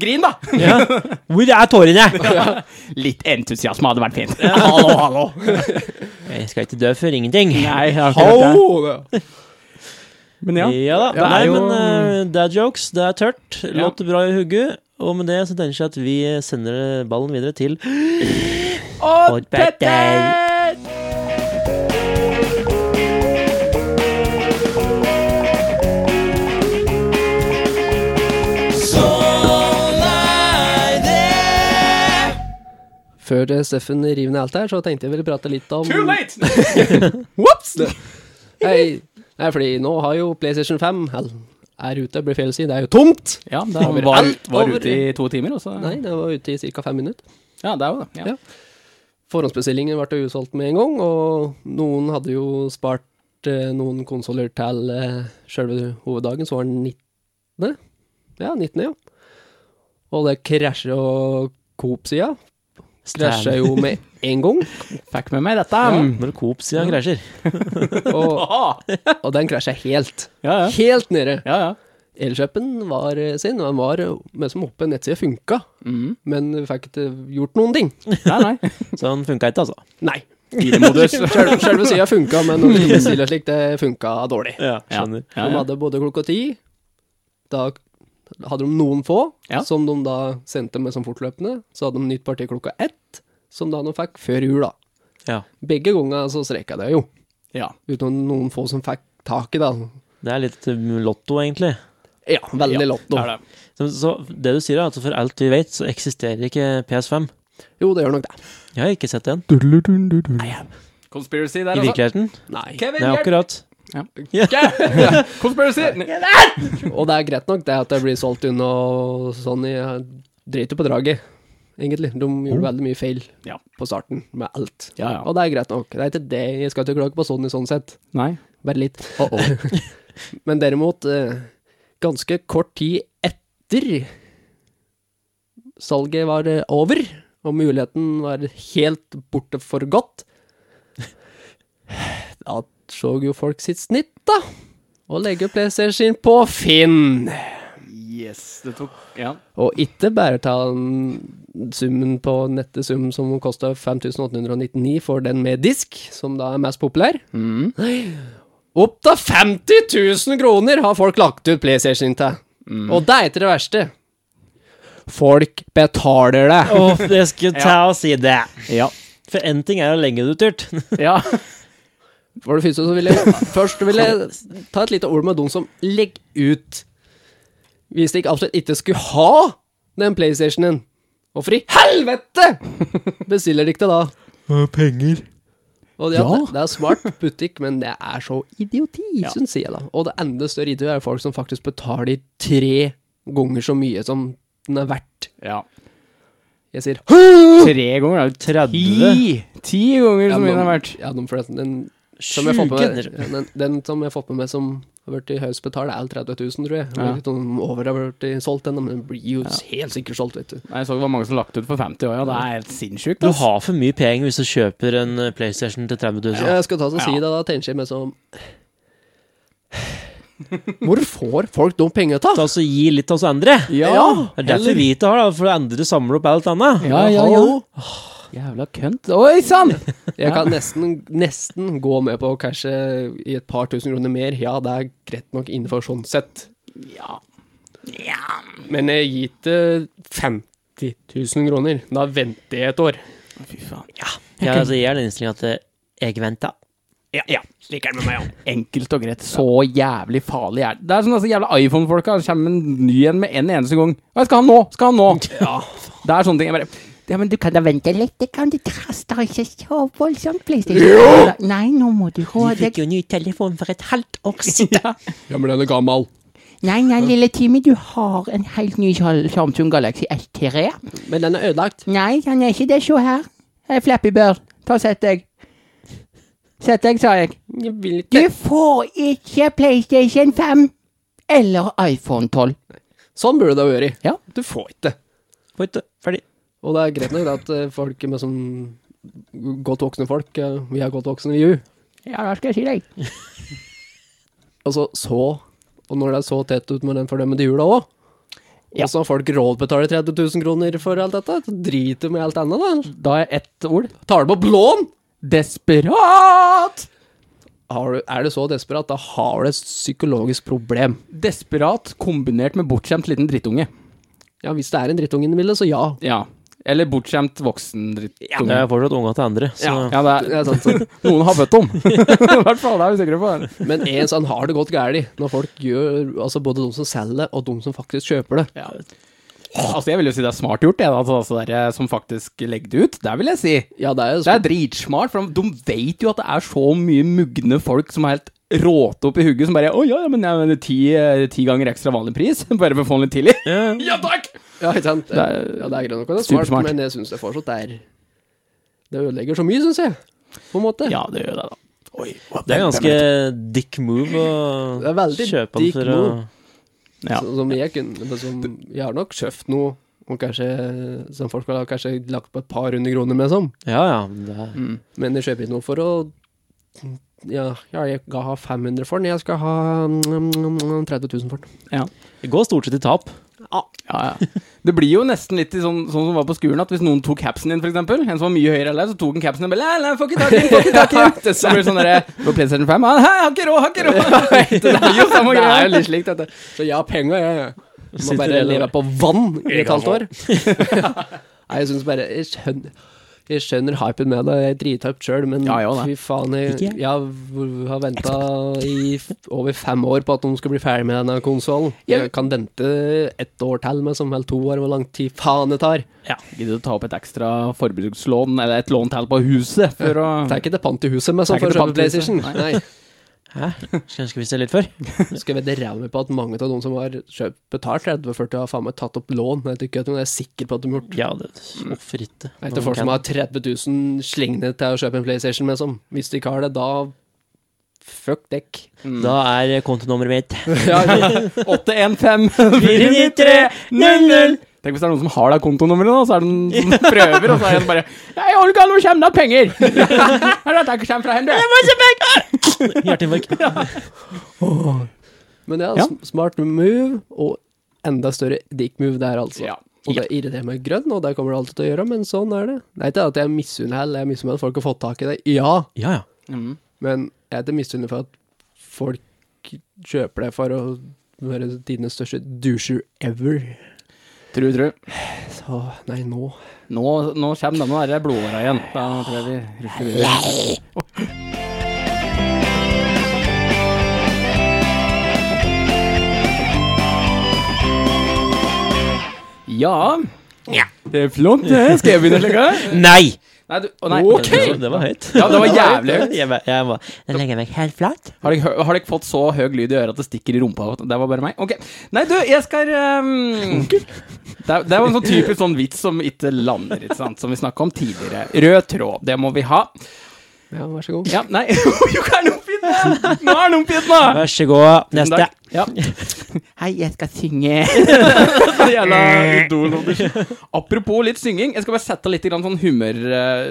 Speaker 2: Grin, <laughs> da!
Speaker 3: Ja. Hvor er tårene?
Speaker 2: Litt entusiasme hadde vært fint. hallo, hallo!
Speaker 3: Jeg skal ikke dø for ingenting.
Speaker 2: Nei, jeg har ikke hørt det.
Speaker 1: Ho! Det-
Speaker 2: Men ja.
Speaker 3: Ja da.
Speaker 2: det er
Speaker 3: Nei,
Speaker 2: jo-
Speaker 3: men eh, det er jokes, det er tørt. Låter bra i hugget. Og med det så tenker jeg at vi sender ballen videre til
Speaker 2: Og
Speaker 3: Og Petter!
Speaker 2: Petter!
Speaker 1: Før eh, Steffen river ned alt her, så tenkte jeg ville prate litt om
Speaker 2: Too late!
Speaker 1: Whoops! Nei, nei, fordi nå har jo PlayStation 5 eller, er ute, blir feil å si. Det er jo tomt!
Speaker 2: Ja, det var, var,
Speaker 1: Overalt, over-
Speaker 2: ute i to timer, og så
Speaker 1: Nei, det var ute i ca. fem minutter.
Speaker 2: Ja, det er jo det. Ja.
Speaker 1: Ja. Forhåndsbestillingen ble jo usolgt med en gang, og noen hadde jo spart eh, noen konsoller til eh, selve hoveddagen, så var den 19. Ja, 19. ja. Og det krasjer jo Coop-sida. Krasjer jo med en gang,
Speaker 2: Fikk med meg dette.
Speaker 3: Når Coop-sida krasjer.
Speaker 1: og,
Speaker 2: Aha!
Speaker 1: og den krasjer helt.
Speaker 2: <laughs> Ja, ja.
Speaker 1: Helt nede.
Speaker 2: ja, ja.
Speaker 1: Elkjøpen var eh, sin, og den var eh, med som oppe nettsida funka,
Speaker 2: Mm.
Speaker 1: men vi fikk ikke gjort noen ting.
Speaker 2: Nei, nei.
Speaker 3: Så den funka ikke, altså.
Speaker 1: Nei.
Speaker 2: Bilmodus.
Speaker 1: Selve, selve sida funka, men når vi bestiller slik, det funka dårlig.
Speaker 3: <laughs> Ja,
Speaker 2: Ja.
Speaker 3: skjønner.
Speaker 2: Ja,
Speaker 1: De
Speaker 2: ja.
Speaker 1: hadde både klokka ti Da hadde de noen få,
Speaker 2: Ja.
Speaker 1: som de da sendte med som fortløpende. Så hadde de nytt parti klokka ett, som da de fikk før jul, da.
Speaker 3: Ja.
Speaker 1: Begge ganger så streka det jo,
Speaker 2: ja.
Speaker 1: utenom noen få som fikk tak i det.
Speaker 3: Det er litt um, lotto, egentlig.
Speaker 1: Ja, veldig lotto.
Speaker 2: Det er det.
Speaker 3: Så, så det du sier, er at for alt vi vet, så eksisterer ikke PS5.
Speaker 1: Jo, det gjør nok det.
Speaker 3: Jeg har ikke sett den
Speaker 2: Conspiracy
Speaker 3: i
Speaker 2: der, altså.
Speaker 3: virkeligheten.
Speaker 1: Nei.
Speaker 2: Kevin,
Speaker 3: Nei,
Speaker 2: hjelp!
Speaker 3: akkurat.
Speaker 2: Ja. Conspiracy!
Speaker 1: Og det er greit nok det at det blir solgt unna og sånn. Jeg driter på draget, egentlig. De gjorde veldig mye feil
Speaker 2: Mm. Ja.
Speaker 1: på starten med alt.
Speaker 2: Ja, ja.
Speaker 1: Og det er greit nok. Det er ikke det jeg skal ikke klage på Sony sånn sett.
Speaker 2: Nei.
Speaker 1: Bare litt. <laughs> Men derimot, eh, ganske kort tid etter salget var eh, over, og muligheten var helt borte for godt, da så jo folk sitt snitt, da. Og legge PlayStation på Finn.
Speaker 2: Yes, det tok Ja.
Speaker 1: Og ikke bare ta den summen på nettet sum som kosta 5899 for den med disk, som da er mest populær.
Speaker 2: Mm.
Speaker 1: Opp til 50 000 kroner har folk lagt ut PlayStation til. Og det er ikke det verste. Folk betaler det.
Speaker 3: Å, det skulle ta og si det.
Speaker 2: Ja.
Speaker 3: For én ting er å legge det ut dyrt.
Speaker 2: <laughs> ja.
Speaker 1: For det første så vil jeg Først vil jeg ta et lite ord med de som legger ut Hvis de ikke absolutt ikke skulle ha den PlayStationen, hvorfor i helvete bestiller de ikke det da?
Speaker 3: Penger.
Speaker 1: Og det, det, det er smart butikk, men det er så idioti,
Speaker 2: Ja.
Speaker 1: synes syns jeg, da. Og det enda større idioti er folk som faktisk betaler tre ganger så mye som den er verdt.
Speaker 2: Ja.
Speaker 1: Jeg sier
Speaker 2: Tre ganger, da.
Speaker 3: 30
Speaker 2: Ti! Ti ganger
Speaker 1: Ja,
Speaker 2: som
Speaker 1: men-
Speaker 2: den har vært.
Speaker 1: Ja, den, forresten, den, som jeg har fått med,
Speaker 3: Sjuke
Speaker 1: meg- den, den som jeg har fått med meg som har vært i høyest betalt, er 30 000, tror jeg. Jeg
Speaker 2: Ja.
Speaker 1: vet ikke om over har vært solgt ennå, men den blir jo helt sikkert solgt, vet du.
Speaker 2: Nei, Jeg så det var mange som lagt ut for 50 år, ja. Det er helt sinnssykt.
Speaker 3: Du
Speaker 2: ass.
Speaker 3: har for mye penger hvis du kjøper en eh, PlayStation til 30 000.
Speaker 1: Jeg skal ta og si
Speaker 2: Ja.
Speaker 1: det, da tenker jeg meg som Hvor får folk de pengene
Speaker 3: Ta
Speaker 1: ta?
Speaker 3: så Gi litt av oss andre.
Speaker 2: Ja!
Speaker 3: Det er derfor vi ikke har, da, for andre samler opp alt annet.
Speaker 2: Ja, ja, ja.
Speaker 1: Hallo?
Speaker 2: Jævla kønt. Oi sann!
Speaker 1: Jeg kan nesten, nesten gå med på å cashe i et par tusen kroner mer. Ja, det er greit nok innenfor sånn sett.
Speaker 2: Ja.
Speaker 1: Men jeg gir ikke 50 000 kroner. Da venter jeg et år.
Speaker 2: Fy faen.
Speaker 3: Jeg, altså, jeg er den innstillinga at eh, jeg venter.
Speaker 2: Ja, ja. Slik er det med meg òg. Enkelt og greit. Så jævlig farlig er det. Det er sånn altså, jævla iPhone-folka kommer med en ny en med en eneste gang. Hva skal han nå? Skal han nå? <laughs> Det er sånne ting. Jeg bare
Speaker 4: Ja, men du kan da vente litt. Det kan du kaste ikke så voldsomt, PlayStation. Nei, nå må du ha
Speaker 3: Jeg
Speaker 4: deg
Speaker 3: fikk jo ny telefon for et halvt år siden.
Speaker 1: Ja, men den er gammel.
Speaker 4: Nei, nei, lille Timmy, du har en helt ny Sal- Samsung Galaxy S3.
Speaker 1: Men den er ødelagt.
Speaker 4: Nei, han er ikke det. Se her. Her er Flappy Bird. Ta og sett deg. Sett deg, sa jeg.
Speaker 1: Jeg vil
Speaker 4: Du
Speaker 1: ikke.
Speaker 4: får ikke PlayStation 5 eller iPhone 12.
Speaker 1: Sånn burde det ha vært.
Speaker 4: Ja.
Speaker 1: Du får ikke.
Speaker 3: Vet du, Ferdig.
Speaker 1: Og det er greit nok det at eh, folk med sånn godt voksne folk eh, Vi er godt voksne, vi òg.
Speaker 4: Ja, hva skal jeg si deg?
Speaker 1: Altså så Og når det er så tett ut med den fordømmede jula òg,
Speaker 2: Ja.
Speaker 1: og så har folk råd til å betale 30 000 kroner for alt dette, så driter med alt annet, da.
Speaker 2: Da er ett ord.
Speaker 1: Tar det på blån!
Speaker 2: Desperat!
Speaker 1: Har du, er du så desperat, da har du et psykologisk problem.
Speaker 2: Desperat kombinert med bortskjemt liten drittunge.
Speaker 1: Ja, hvis det er en drittunge inni bildet, så ja.
Speaker 2: Ja. Eller bortskjemt voksen
Speaker 3: Ja, men
Speaker 2: drittunge.
Speaker 3: jeg er fortsatt unga til andre, så
Speaker 2: Ja, det
Speaker 1: Det
Speaker 2: er,
Speaker 1: er sant, sant.
Speaker 2: noen har født dem. <laughs> I hvert fall, det er vi sikre på.
Speaker 1: Men en sånn har det gått galt når folk gjør Altså både de som selger det, og de som faktisk kjøper det.
Speaker 2: Altså, jeg vil jo si det er smart gjort, jeg, da, altså, altså, dere som faktisk legger det ut. Det vil jeg si.
Speaker 1: Ja, det er jo
Speaker 2: Det er dritsmart, for de vet jo at det er så mye mugne folk som er helt råte opp i hugget, som bare Å ja, ja, men jeg mener ti, eh, ti ganger ekstra vanlig pris, <laughs> bare for å få den litt tidlig.
Speaker 3: Ja.
Speaker 2: Ja takk!
Speaker 1: Ja, ikke sant?
Speaker 2: Det er-
Speaker 1: ja, det er greit nok, og det er smart,
Speaker 2: Supersmart.
Speaker 1: men jeg syns det fortsatt er Det ødelegger så mye, syns jeg. På en måte.
Speaker 2: Ja, det gjør det, da. Oi,
Speaker 3: Det er ganske dick move å
Speaker 1: Det er veldig
Speaker 3: kjøpe den
Speaker 1: dick
Speaker 3: for å
Speaker 1: move.
Speaker 2: Ja.
Speaker 1: Så, som jeg kunne men som, Jeg har nok kjøpt noe og kanskje, som folk har kanskje lagt på et par hundre kroner med, sånn.
Speaker 3: Ja, ja. men Det er,
Speaker 2: Mm.
Speaker 1: men jeg kjøper ikke noe for å ja, ja, jeg skal ha 500 for den. Jeg skal ha mm, mm, mm, 30 000 for den.
Speaker 3: det går stort sett i tap.
Speaker 2: Ja, ja. Det blir jo nesten litt i sånn, sånn som var på skolen, at hvis noen tok capsen din, for eksempel, en som var mye høyere enn deg, så tok han capsen din og bare Nei, nei, får ikke tak i den, får ikke <laughs> tak i den. Så blir det sånn derre På PlayStation 5 «Hæ, Hæ, har ikke råd, har ikke <laughs> råd. Det blir jo samme
Speaker 1: Det er jo
Speaker 2: greia.
Speaker 1: litt slikt, dette. Så jeg har penger, jeg. jeg. Må
Speaker 3: Sitter
Speaker 1: bare
Speaker 3: hele-
Speaker 1: leve på vann i et halvt år. Nei, jeg syns bare Jeg skjønner, jeg skjønner hypen med det, jeg er drithyped sjøl, men
Speaker 2: Ja, ja, da.
Speaker 1: fy faen, jeg,
Speaker 3: Ikke jeg.
Speaker 1: jeg har v- har venta i f- over fem år på at de skal bli ferdig med denne konsollen. Jeg kan vente ett år til, men som vel to år, hvor lang tid faen det tar.
Speaker 2: Gidder du å ta opp et ekstra forbrukslån, eller et lån til på huset, for å <laughs>
Speaker 1: Det er ikke det pant i huset
Speaker 2: Det
Speaker 1: med
Speaker 2: er
Speaker 1: sånn for
Speaker 2: ikke
Speaker 1: å
Speaker 2: det
Speaker 1: kjøpe
Speaker 2: pant i huset.
Speaker 1: PlayStation. Nei.
Speaker 3: Hæ? Skulle ønske vi visste det litt før.
Speaker 1: Skal jeg vedde ræva mi på at mange av de som har kjøpt, betalt 30-40, har faen meg tatt opp lån. Jeg tykker at jeg er sikker på at de har gjort.
Speaker 3: Ja, det Hvorfor ikke?
Speaker 1: Jeg vet ikke folk som har 30 000 slingende til å kjøpe en PlayStation, men som hvis de ikke har det, da Fuck
Speaker 2: <laughs>
Speaker 1: dekk.
Speaker 3: Da er eh, kontonummeret mitt
Speaker 2: <laughs>
Speaker 3: <laughs>
Speaker 2: 815 493 00 Tenk hvis det er noen som har det kontonummeret, da, så er det <laughs> noen som prøver, og så er det bare Nei, Olga, nå kommer det penger! <laughs> Er det at det ikke kommer fra henne?
Speaker 3: hjerteinfarkt.
Speaker 1: Men ja,
Speaker 2: Ja.
Speaker 1: sm- smart move, og enda større dick move der, altså.
Speaker 2: Ja.
Speaker 1: Og det irriterer meg grønn, og det kommer det alltid til å gjøre, men sånn er det. Det er ikke at jeg misunner heller, jeg misunner at folk har fått tak i det, ja,
Speaker 3: Ja, ja.
Speaker 2: Mm.
Speaker 1: men jeg er ikke misunnelig for at folk kjøper det for å være tidenes største doucher ever.
Speaker 2: Tru, tru.
Speaker 1: Så nei, nå
Speaker 2: Nå, nå kommer denne der blodåra igjen. Da tror jeg vi rusler videre. Ja. Det er flott, det. Skal jeg begynne å legge?
Speaker 3: Nei!
Speaker 2: Nei, du, å, nei.
Speaker 3: Ok! <laughs> Det var høyt.
Speaker 2: Ja, det var jævlig høyt.
Speaker 3: Jeg, bare- jeg bare, jeg legger meg helt flat.
Speaker 2: Har dere, hø- har dere fått så høy lyd i øret at det stikker i rumpa? Det var bare meg. Ok. Nei, du, jeg skal ehm, det, er- det var en sånn typisk sånn vits som ikke lander, ikke sant? Som vi snakka om tidligere. Rød tråd, det må vi ha.
Speaker 1: Ja, vær så god.
Speaker 2: Ja, nei <laughs> Jo, hva er det oppgitt nå? Nå er det oppgitt nå!
Speaker 3: Vær så god.
Speaker 2: Tusen
Speaker 3: Neste.
Speaker 2: takk. Ja. <laughs> Hei, jeg skal <laughs> synge. Så jævla idol-audition. Apropos litt synging, jeg skal bare sette litt grann sånn humør eh,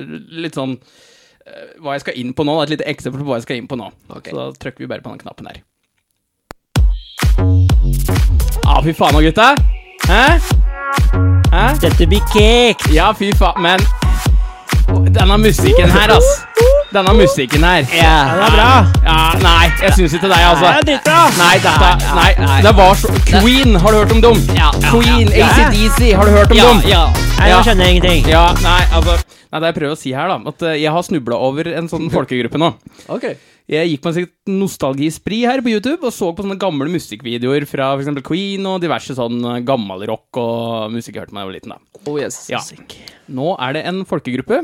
Speaker 2: Litt sånn eh, hva jeg skal inn på nå. da. Et lite eksempel på hva jeg skal inn på nå. Så da trykker vi bare på den knappen der. Ja, Ah, fy faen nå, gutta. Hæ? Hæ?
Speaker 3: Dette blir kjekt.
Speaker 2: Ja, fy faen, men Denne musikken her, ass. Denne musikken her.
Speaker 3: Ja, det er bra.
Speaker 2: Ja, nei, jeg syns ikke det, altså.
Speaker 3: Det er dritbra.
Speaker 2: Nei, dette Nei, det var så Queen, har du hørt om dem? Queen,
Speaker 3: ja.
Speaker 2: ACDC, har du hørt om dem?
Speaker 3: ja. Nei,
Speaker 2: Ja.
Speaker 3: jeg skjønner ingenting.
Speaker 2: Ja, nei, altså Nei, det jeg prøver å si her, da, at eh, jeg har snubla over en sånn folkegruppe nå.
Speaker 1: Ok. <laughs>
Speaker 2: Jeg gikk på en sikkert nostalgispri her på YouTube og så på sånne gamle musikkvideoer fra f.eks. Queen og diverse sånn eh, gammelrock og musikk jeg hørte da jeg var liten, da.
Speaker 1: Oh yes.
Speaker 2: Ja. Nå er det en folkegruppe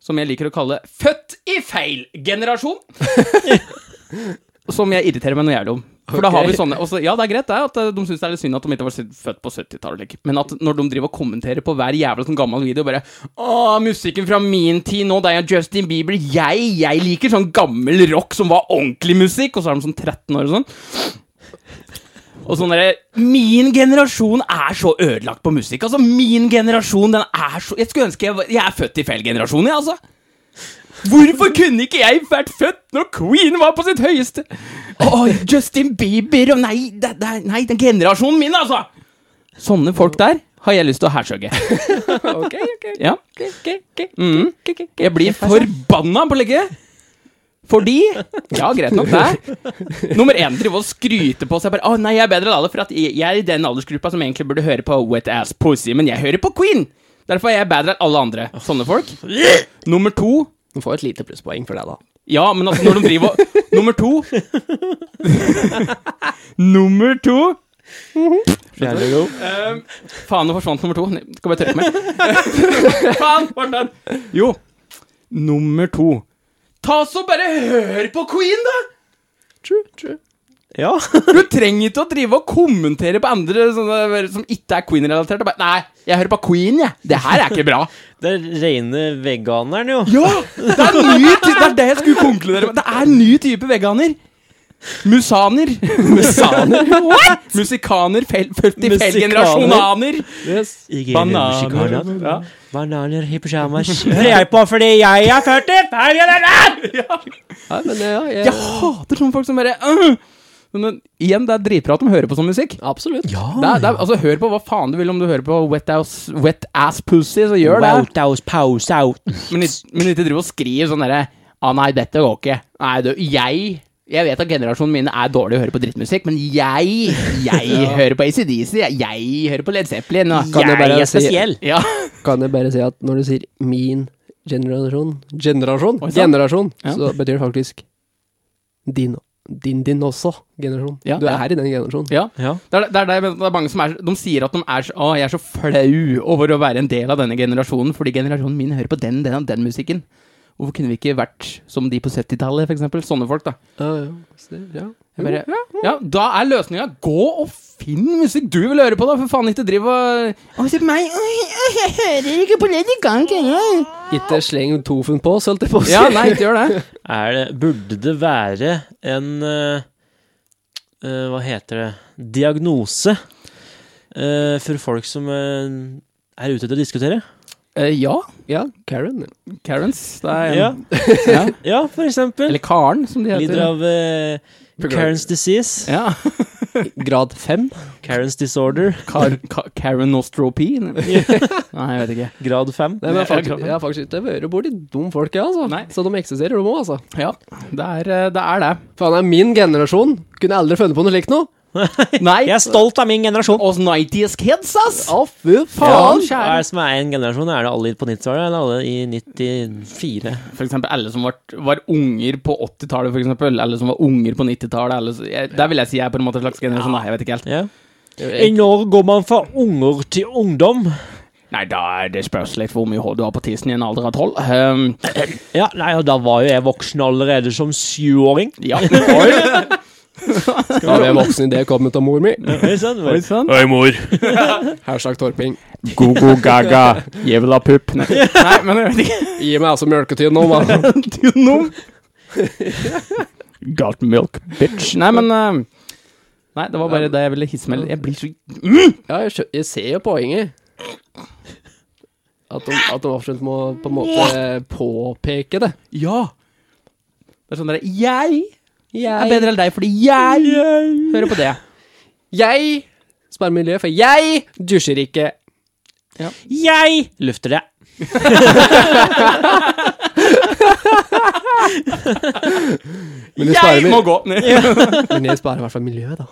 Speaker 2: som jeg liker å kalle Født i feil generasjon. som jeg irriterer meg noe jævlig om. For da har vi sånne og så- Ja, det er greit det, at eh, de syns det er litt synd at de ikke var født på 70-tallet. like. Men at når de driver og kommenterer på hver jævla sånn gammel video bare Å, musikken fra min tid nå, det er jo Justin Bieber. Jeg, jeg liker sånn gammel rock som var ordentlig musikk. Og så er de sånn 13 år og sånn. Og sånn derre Min generasjon er så ødelagt på musikk. Altså, min generasjon, den er så Jeg skulle ønske jeg, var- jeg er født i feil generasjon, jeg, altså. Hvorfor kunne ikke jeg vært født når Queen var på sitt høyeste? Å, Justin Bieber og nei, det, det, er- nei, den generasjonen min, altså! Sånne folk der har jeg lyst til å hærsjøgge.
Speaker 1: Ok, ok.
Speaker 2: Ja.
Speaker 1: ok, ok,
Speaker 2: Mhm.
Speaker 1: ok, ok, ok.
Speaker 2: Jeg sånn. blir forbanna på legge. Fordi Ja, greit nok, det. Nummer én driver og skryter på seg. bare, Å nei, jeg er bedre enn alle, for at jeg jeg er i den aldersgruppa som egentlig burde høre på Wet Ass Pussy, men jeg hører på Queen. Derfor er jeg bedre enn alle andre. Sånne folk. Nummer to
Speaker 1: Du får et lite plusspoeng for det, da.
Speaker 2: ja, men altså, når de driver og Nummer to Nummer to Ehm, Faen, nå forsvant nummer to. Nei, Skal bare tørke meg. <laughs> Faen, Morten! Jo. Nummer to. Ta så bare hør på Queen, da!
Speaker 1: True, true.
Speaker 3: Ja. <laughs>
Speaker 2: Du trenger ikke å drive og kommentere på andre sånne, som ikke er Queen-relatert. og bare, Nei, jeg hører på Queen, jeg. Det her er ikke bra.
Speaker 3: Det er rene veganeren, jo.
Speaker 2: Ja! Det er, ny ty det er det jeg skulle konkludere med. Det er en ny type veganer. Musaner. Musaner? <laughs> What? Musikaner. Fel, født i feil
Speaker 3: Musikaner.
Speaker 2: generasjonaner.
Speaker 1: Yes.
Speaker 3: Bananer.
Speaker 2: Ja.
Speaker 3: Bananer i <laughs> pysjamas. Det er på fordi jeg er 40!
Speaker 1: Nei, men ja, jeg,
Speaker 2: Jeg hater sånne folk som bare øh. men igjen, det er dritbra at de hører på sånn musikk.
Speaker 1: Absolutt.
Speaker 2: Det er, det er, altså, Hør på hva faen du vil, om du hører på Wet Ass, wet ass Pussy, så gjør det.
Speaker 3: Wouthouse pause out.
Speaker 2: Men, ikke- men ikke drive og skriv sånn derre ah, nei, dette går ikke. Nei, du, jeg Jeg vet at generasjonen min er dårlig å høre på drittmusikk, men jeg Jeg hører på ACDC, jeg, jeg hører på Led Zeppelin, og
Speaker 1: Kan jeg bare
Speaker 3: Jeg er
Speaker 1: si-
Speaker 3: spesiell.
Speaker 2: <laughs> Ja.
Speaker 1: Kan jeg bare si at når du sier min generasjon Generasjon!
Speaker 2: Oi, sant.
Speaker 1: generasjon
Speaker 2: Ja.
Speaker 1: Så betyr det faktisk din, din, din også generasjon.
Speaker 2: Ja,
Speaker 1: du
Speaker 2: ja.
Speaker 1: er her i den generasjonen.
Speaker 2: ja.
Speaker 3: Ja.
Speaker 2: Det er, det, er, det, jeg mener, det er mange som er De sier at de er så, å, jeg er så flau over å være en del av denne generasjonen, fordi generasjonen min hører på den, den og den musikken. Hvorfor kunne vi ikke vært som de på 70-tallet, for eksempel? Sånne folk, da.
Speaker 1: Ja, ja. Så det- ja.
Speaker 2: Jeg bare, ja, da er løsninga gå og finn musikk du vil høre på, da! For faen, ikke driv og
Speaker 4: Å, se på meg. Oi, oi, jeg hører ikke på Lady Gaga. jeg.
Speaker 1: Ikke sleng tofen på, så holdt jeg på å si.
Speaker 2: Ja, nei, ikke gjør det.
Speaker 3: Er det, burde det være en eh, eh, Hva heter det Diagnose eh, for folk som eh, er ute etter å diskutere?
Speaker 2: Eh, ja.
Speaker 1: Ja, Karen.
Speaker 2: Karens. Det er en,
Speaker 3: Ja.
Speaker 2: ja.
Speaker 3: Ja, for eksempel.
Speaker 2: Eller Karen, som de heter.
Speaker 3: Lider av eh, Karen's disease.
Speaker 2: Ja.
Speaker 1: Grad fem.
Speaker 3: Karen's disorder.
Speaker 2: Kar, ka, Karen Nostropi? Nei, jeg vet ikke.
Speaker 3: Grad 5.
Speaker 1: Nei,
Speaker 2: <laughs>
Speaker 1: men
Speaker 2: Ja,
Speaker 1: faktisk,
Speaker 2: grad fem.
Speaker 1: jeg har faktisk ikke vært borti de folka, altså.
Speaker 2: Nei.
Speaker 1: Så de eksisterer, de òg, altså.
Speaker 2: Ja, det er eh, det. Er det.
Speaker 1: Faen, det er min generasjon. Kunne aldri funnet på noe slikt noe.
Speaker 2: Nei,
Speaker 3: Jeg er stolt av min generasjon.
Speaker 2: oss 90s kids, ass!
Speaker 1: Å, fy
Speaker 3: Ja,
Speaker 1: faen!
Speaker 3: hva er det som er en generasjon? Er det alle på 90-tallet, eller alle i 94?
Speaker 2: For eksempel alle som var, var unger på 80-tallet, for eksempel. Alle som var unger på 90-tallet. alle som- jeg- Der vil jeg si jeg er på en måte en slags generasjon, da. Jeg vet ikke helt.
Speaker 3: Ja. I Norge går man fra unger til ungdom.
Speaker 2: Nei, da er det spørs litt hvor mye hår du har på tissen i en alder av tolv. Um,
Speaker 3: Ja, nei, og da var jo jeg voksen allerede som syvåring.
Speaker 2: <laughs> ja. Oi,
Speaker 1: Da har vi en voksen idé kommet av mor mi.
Speaker 3: <laughs> Ikke sant?
Speaker 2: oi sann.
Speaker 3: Oi, mor.
Speaker 1: Hashtag Torping.
Speaker 2: Gogo gaga, jævla pupp. Nei, nei, men jeg vet ikke. <laughs>
Speaker 1: Gi meg altså mjølketynn nå, da.
Speaker 2: Do you know? Got milk, bitch. Nei, men um, Nei, det var bare det jeg ville hisse med. Jeg blir så Mm!
Speaker 1: Ja, jeg, skjø jeg ser jo poenget. At de, at de absolutt må på en måte påpeke det.
Speaker 2: Ja! Det er sånn dere Jeg er bedre enn deg fordi jeg, hører på det.
Speaker 1: Jeg sparer miljø, for jeg dusjer ikke.
Speaker 3: Jeg
Speaker 2: <laughs>
Speaker 3: lufter det.
Speaker 1: Men jeg sparer,
Speaker 2: må
Speaker 1: mil-
Speaker 2: gå! <laughs>
Speaker 1: men jeg sparer i hvert fall miljøet, da.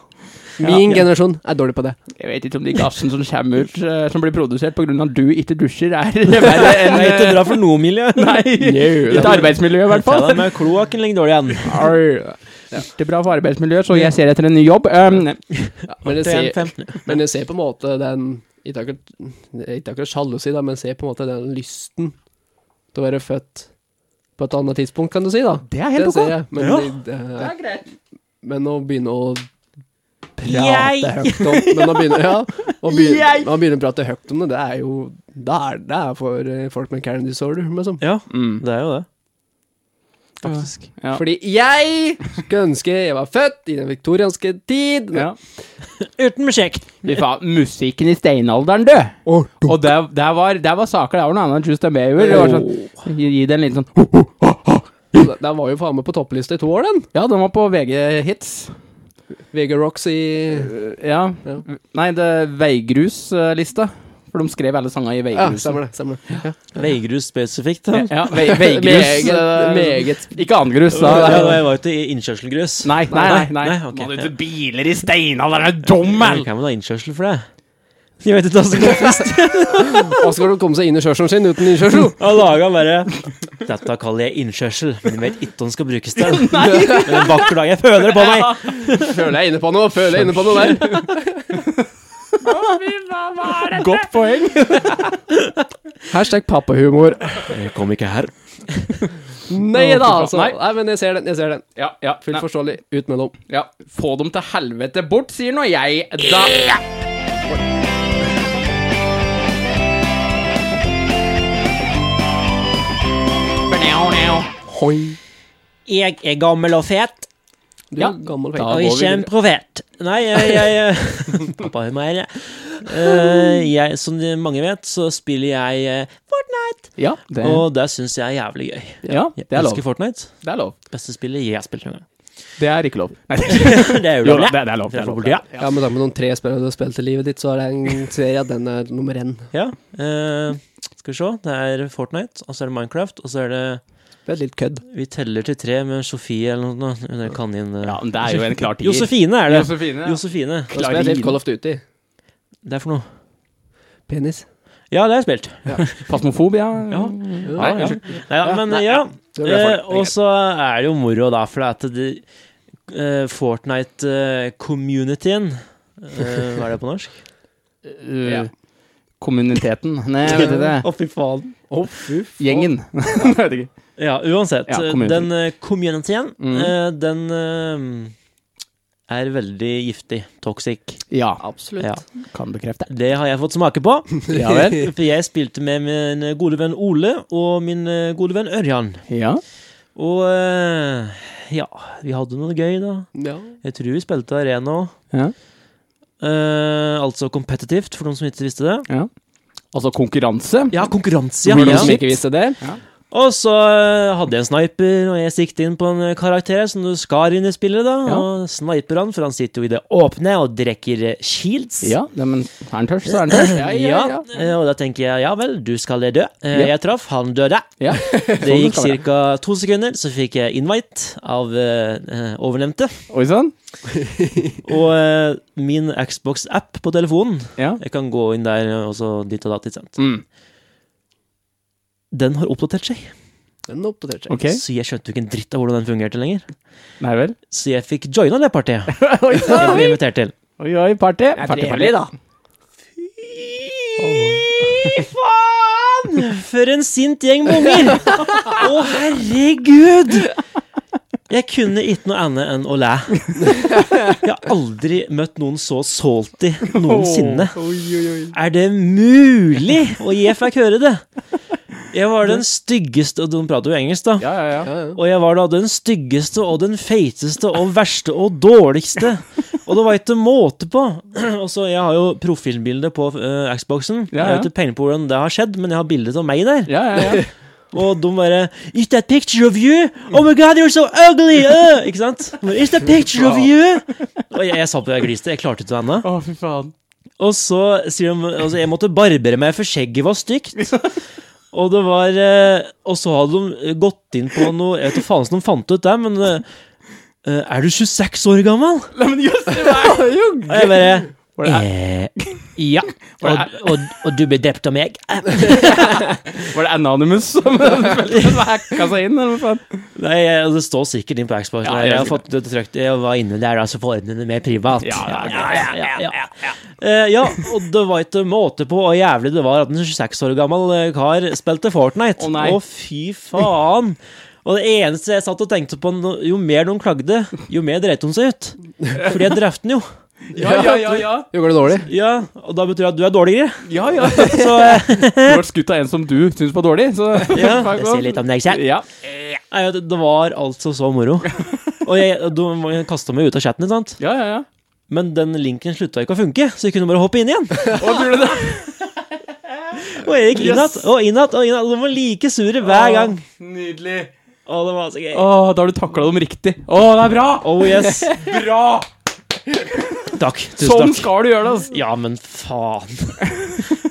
Speaker 1: Min generasjon er dårlig på det.
Speaker 2: Jeg vet ikke om de gassene som kommer ut, eh, som blir produsert pga. at du ikke dusjer, er <laughs> verre
Speaker 3: Det
Speaker 2: enn eh,
Speaker 3: er ikke bra for noe miljø.
Speaker 2: <laughs> Nei, ikke arbeidsmiljø, i hvert
Speaker 3: Ta
Speaker 2: fall.
Speaker 3: deg med kloakken ligger dårlig an.
Speaker 2: Ikke bra for arbeidsmiljøet, så jeg ser etter en ny jobb. Um,
Speaker 1: Ja, men,
Speaker 3: Til en
Speaker 1: jeg ser,
Speaker 3: femten.
Speaker 1: men jeg ser på en måte den Ikke akkurat, ikke akkurat sjalusi, da, men jeg ser på en måte den lysten til å være født på et annet tidspunkt, kan du si. da
Speaker 2: det er
Speaker 1: Det
Speaker 2: helt
Speaker 1: ser
Speaker 2: ok.
Speaker 1: jeg. Men,
Speaker 3: Ja.
Speaker 1: det, det,
Speaker 2: er greit.
Speaker 1: Men å begynne å prate
Speaker 3: Jeg-
Speaker 1: høyt om Men å begynne, ja, å begynne,
Speaker 2: Jeg-
Speaker 1: å begynne å prate høyt om det, det er jo Det er, det er for eh, folk med Karen disorder, liksom.
Speaker 3: Ja,
Speaker 2: Mm.
Speaker 3: det er jo det. Faktisk.
Speaker 2: Ja.
Speaker 1: Fordi jeg skulle ønske jeg var født i den viktorianske tid.
Speaker 2: Ja.
Speaker 3: Uten beskjekt.
Speaker 2: Fy faen, musikken i steinalderen, du! Og det, det, var, det var saker, det var noe annet enn Justin Bieber. Det var sånn,
Speaker 1: Oh.
Speaker 2: gi gi det en liten sånn
Speaker 1: Den den var jo faen meg på topplista i to år, den.
Speaker 2: Ja, den var på VG Hits.
Speaker 1: VG Rocks i
Speaker 2: Ja.
Speaker 1: Ja.
Speaker 2: Nei, det er Veigrus-lista. For de skrev alle sanger i
Speaker 1: Ja,
Speaker 2: Veigrus.
Speaker 1: stemmer det. Stemmer det. Ja.
Speaker 3: Veigrus spesifikt. da.
Speaker 2: Ja, ja, vei, veigrus.
Speaker 1: <laughs> Meget,
Speaker 2: eh,
Speaker 1: meget
Speaker 2: Ikke angrus, da.
Speaker 3: Ja, og jeg var jo til innkjørselgrus.
Speaker 2: Nei, nei, nei. nei.
Speaker 3: Nei, ok.
Speaker 2: Må du til biler i steinalderen, er du dum,
Speaker 3: Men Kan man ha innkjørsel for det? Jeg vet ikke hva som går <laughs> først.
Speaker 1: Og skal du komme seg inn i kjørselen sin uten innkjørsel?
Speaker 3: Og laga bare Dette kaller jeg innkjørsel, men jeg vet ikke om den skal brukes til.
Speaker 1: <laughs>
Speaker 3: Men en vakker dag jeg føler det på
Speaker 2: <laughs>
Speaker 3: meg.
Speaker 1: Føler jeg er inne på noe, føler jeg er inne på noe der.
Speaker 2: Godt poeng.
Speaker 1: Hashtag pappahumor.
Speaker 3: Jeg kom ikke her.
Speaker 1: Nei da, altså.
Speaker 2: Nei.
Speaker 1: Nei, men jeg ser den. Jeg ser den.
Speaker 2: Ja, ja,
Speaker 1: Fullt forståelig. Ut med dem.
Speaker 2: ja. Få dem til helvete bort, sier nå jeg. Da
Speaker 3: Jeg er gammel og fet,
Speaker 1: Du
Speaker 2: Ja.
Speaker 1: er gammel
Speaker 2: Da
Speaker 3: og
Speaker 2: går vi
Speaker 3: ikke en
Speaker 2: videre.
Speaker 3: profet. Nei, jeg,
Speaker 2: <laughs>
Speaker 3: jeg Pappa hører meg, jeg. Eh, jeg. Som de mange vet, så spiller jeg eh, Fortnite,
Speaker 2: Ja, det,
Speaker 3: og det syns jeg er jævlig gøy.
Speaker 2: ja,
Speaker 3: Jeg
Speaker 2: det er lov.
Speaker 3: elsker Fortnite.
Speaker 2: Det er lov.
Speaker 3: Beste spillet jeg
Speaker 2: <laughs>
Speaker 3: spiller noen gang.
Speaker 2: Det er ikke lov.
Speaker 3: Det er
Speaker 2: Jo,
Speaker 3: ulovlig.
Speaker 2: <laughs> det, det er lov. Det er lov.
Speaker 3: Ja.
Speaker 1: Ja, men da med noen tre spillere du har spilt i livet ditt, så er det en serie at den er nummer én.
Speaker 3: Ja, eh, skal vi se. Det er Fortnite, og så er det Minecraft, og så er det
Speaker 1: Det er litt kødd.
Speaker 3: Vi teller til tre med Sofie eller noe. Hun er kanin... eh.
Speaker 2: Ja, men det er jo en klar tier.
Speaker 3: Josefine er det.
Speaker 2: Josefine. ja.
Speaker 3: Josefine.
Speaker 1: Og så er det litt Call of Duty.
Speaker 3: Det er for noe.
Speaker 1: Penis.
Speaker 3: Ja, det har jeg spilt.
Speaker 2: Pasmofobia.
Speaker 3: Ja.
Speaker 2: Nei,
Speaker 1: ja.
Speaker 2: unnskyld.
Speaker 3: Nei, ja, men ja.
Speaker 1: Det ble jeg
Speaker 3: Eh, og så er det jo moro, da, for at det, eh, Fortnite-communityen eh, Hva er det på norsk?
Speaker 2: Uh,
Speaker 1: Ja.
Speaker 2: Kommuniteten. Nei, jeg vet ikke.
Speaker 3: <laughs>
Speaker 2: <laughs>
Speaker 3: Å, fy faen.
Speaker 2: Gjengen. Jeg vet ikke.
Speaker 3: Ja, uansett.
Speaker 2: Ja,
Speaker 3: eh,
Speaker 2: communityen.
Speaker 3: den eh, communityen,
Speaker 2: Mm.
Speaker 3: eh, den eh, er veldig giftig. Toxic.
Speaker 2: Ja,
Speaker 1: Absolutt.
Speaker 3: Ja.
Speaker 2: kan bekrefte.
Speaker 3: Det har jeg fått smake
Speaker 2: <laughs>
Speaker 3: på.
Speaker 2: Ja vel.
Speaker 3: <laughs> For jeg spilte med min gode venn Ole og min eh, gode venn Ørjan.
Speaker 2: Ja.
Speaker 3: Og eh, ja, vi hadde noe gøy, da.
Speaker 1: Ja.
Speaker 3: Jeg tror vi spilte arena òg.
Speaker 2: Ja.
Speaker 3: altså kompetitivt, for noen som ikke visste det.
Speaker 2: Altså konkurranse.
Speaker 3: Ja, konkurranse,
Speaker 2: Ja,
Speaker 3: ja.
Speaker 2: Will
Speaker 3: ja.
Speaker 2: Smith. ikke visste
Speaker 1: det.
Speaker 3: Og så eh, hadde jeg en sniper, og jeg siktet inn på en eh, karakter som du skar inn i spillet, da.
Speaker 2: Ja.
Speaker 3: Og sniper han, for han sitter jo i det åpne og drikker eh, shields.
Speaker 2: Ja, nei, men er han tørst, så er han tørst.
Speaker 3: Ja, eh, og da tenker jeg ja vel, du skal dø. Eh,
Speaker 2: Ja.
Speaker 3: Jeg traff, han døde.
Speaker 2: <laughs> Ja.
Speaker 3: Det
Speaker 2: Sånn
Speaker 3: gikk
Speaker 2: skal være.
Speaker 3: ca. to sekunder, så fikk jeg invite av eh, eh, ovennevnte.
Speaker 2: Oi sånn. sann.
Speaker 3: Og eh, min Xbox-app på telefonen,
Speaker 2: Ja.
Speaker 3: jeg kan gå inn der og så dit og datt, ikke sant.
Speaker 2: Mm.
Speaker 3: Den har oppdatert seg,
Speaker 1: Den oppdaterte seg.
Speaker 2: Ok.
Speaker 3: så jeg skjønte jo ikke en dritt av hvordan den fungerte lenger.
Speaker 2: Nei vel.
Speaker 3: Så jeg fikk joina det
Speaker 2: <laughs>
Speaker 3: partiet
Speaker 2: Oi,
Speaker 3: sånn. jeg ble invitert til.
Speaker 2: oi, oi, party.
Speaker 1: Det er
Speaker 2: Party, party.
Speaker 1: trevlig, da.
Speaker 2: Åh.
Speaker 3: Fy faen! For en sint gjeng med unger! Å, herregud! Jeg kunne ikke noe annet enn å læ. Jeg har aldri møtt noen så salty noensinne. Er det mulig? Og jeg fikk høre det. Jeg var den styggeste og De prater jo engelsk, da.
Speaker 2: Ja, ja, ja.
Speaker 1: Ja, ja.
Speaker 3: Og jeg var da den styggeste og den feiteste og verste og dårligste. Og det var ikke måte på. Og så Jeg har jo profilbilde på eh, Xboxen.
Speaker 2: Ja,
Speaker 3: Jeg
Speaker 2: ja.
Speaker 3: vet ikke peiling på hvordan det har skjedd, men jeg har bilde av meg der.
Speaker 2: ja, ja, ja.
Speaker 3: Og de bare Is that picture of you? Oh my god, you're so ugly! Uh! Ikke sant? Bare, Is that picture of you? Og jeg, jeg sa på jeg gliste. Jeg klarte ikke det ennå.
Speaker 2: Å, fy faen.
Speaker 3: Og så sier de altså, Jeg måtte barbere meg, for skjegget var stygt. Og det var eh, Og så hadde de gått inn på noe Jeg vet ikke faen som de fant ut det, men eh, eh, Er du 26 år gammel?
Speaker 2: Nei, men jøss, det var jo
Speaker 3: Og jeg bare
Speaker 2: Var det
Speaker 3: eh, Ja. Og, og, og du ble drept av meg?
Speaker 2: Var det Anonymous som <laughs> hacka seg inn, eller hva faen?
Speaker 3: Nei, jeg- og det står sikkert inn på Xbox.
Speaker 2: Ja,
Speaker 3: Nei,
Speaker 2: jeg
Speaker 3: jeg, har
Speaker 2: sikkert.
Speaker 3: fått det trykt. Jeg var inne der, da, så får jeg det mer privat.
Speaker 2: Ja, ja,
Speaker 3: ja, ja, ja. Eh, ja, og det var ikke måte på hvor jævlig det var at en 26 år gammel eh, kar spilte Fortnite.
Speaker 2: Å, nei.
Speaker 3: Å, fy faen! Og det eneste jeg satt og tenkte på, no- jo mer noen klagde, jo mer dreit de seg ut. For jeg drepte den jo.
Speaker 2: Ja, ja, ja. ja.
Speaker 1: Jo, går det dårlig?
Speaker 3: Ja, og da betyr det at du er dårligere.
Speaker 2: ja, ja.
Speaker 3: Så eh,
Speaker 2: Du ble skutt av en som du syns var dårlig, så <laughs>
Speaker 3: ja, det sier litt om deg selv.
Speaker 2: Ja.
Speaker 3: Nei, det- det var altså så moro. Og jeg, de kasta meg ut av chatten, ikke sant?
Speaker 2: Ja, ja, ja.
Speaker 3: Men den linken slutta ikke å funke, så jeg kunne bare hoppe inn igjen.
Speaker 2: <laughs> Å, tror du det?
Speaker 3: <laughs> Og jeg gikk inn igjen, og inn igjen, og inn igjen. og De var like sure hver gang.
Speaker 2: Nydelig.
Speaker 3: Å, det var så gøy.
Speaker 2: Å, da har du takla dem riktig. Å, det er bra!
Speaker 3: Oh yes.
Speaker 2: Bra!
Speaker 3: <laughs> Takk.
Speaker 2: Sånn
Speaker 3: Tusen takk.
Speaker 2: skal du gjøre det, altså.
Speaker 3: Ja, men faen.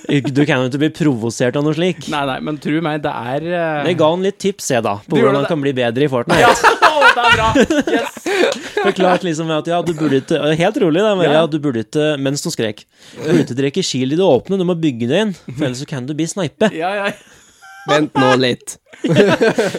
Speaker 3: Du kan jo ikke bli provosert av noe slik.
Speaker 2: Nei, nei, men tro meg, det er eh,
Speaker 3: Jeg ga han litt tips, jeg, da, på
Speaker 2: Du gjorde
Speaker 3: hvordan han
Speaker 2: det.
Speaker 3: kan bli bedre
Speaker 2: <laughs>
Speaker 3: i Fortnite.
Speaker 2: Å, det er bra! Yes.
Speaker 3: <laughs> Forklart liksom at ja, du burde ikke Helt rolig, da, men ja, du burde ikke Mens hun skrek. Du burde ikke drikke Kiel i det åpne, du må bygge det inn, for ellers så kan du bli snipe.
Speaker 2: Ja, ja.
Speaker 1: Vent nå litt.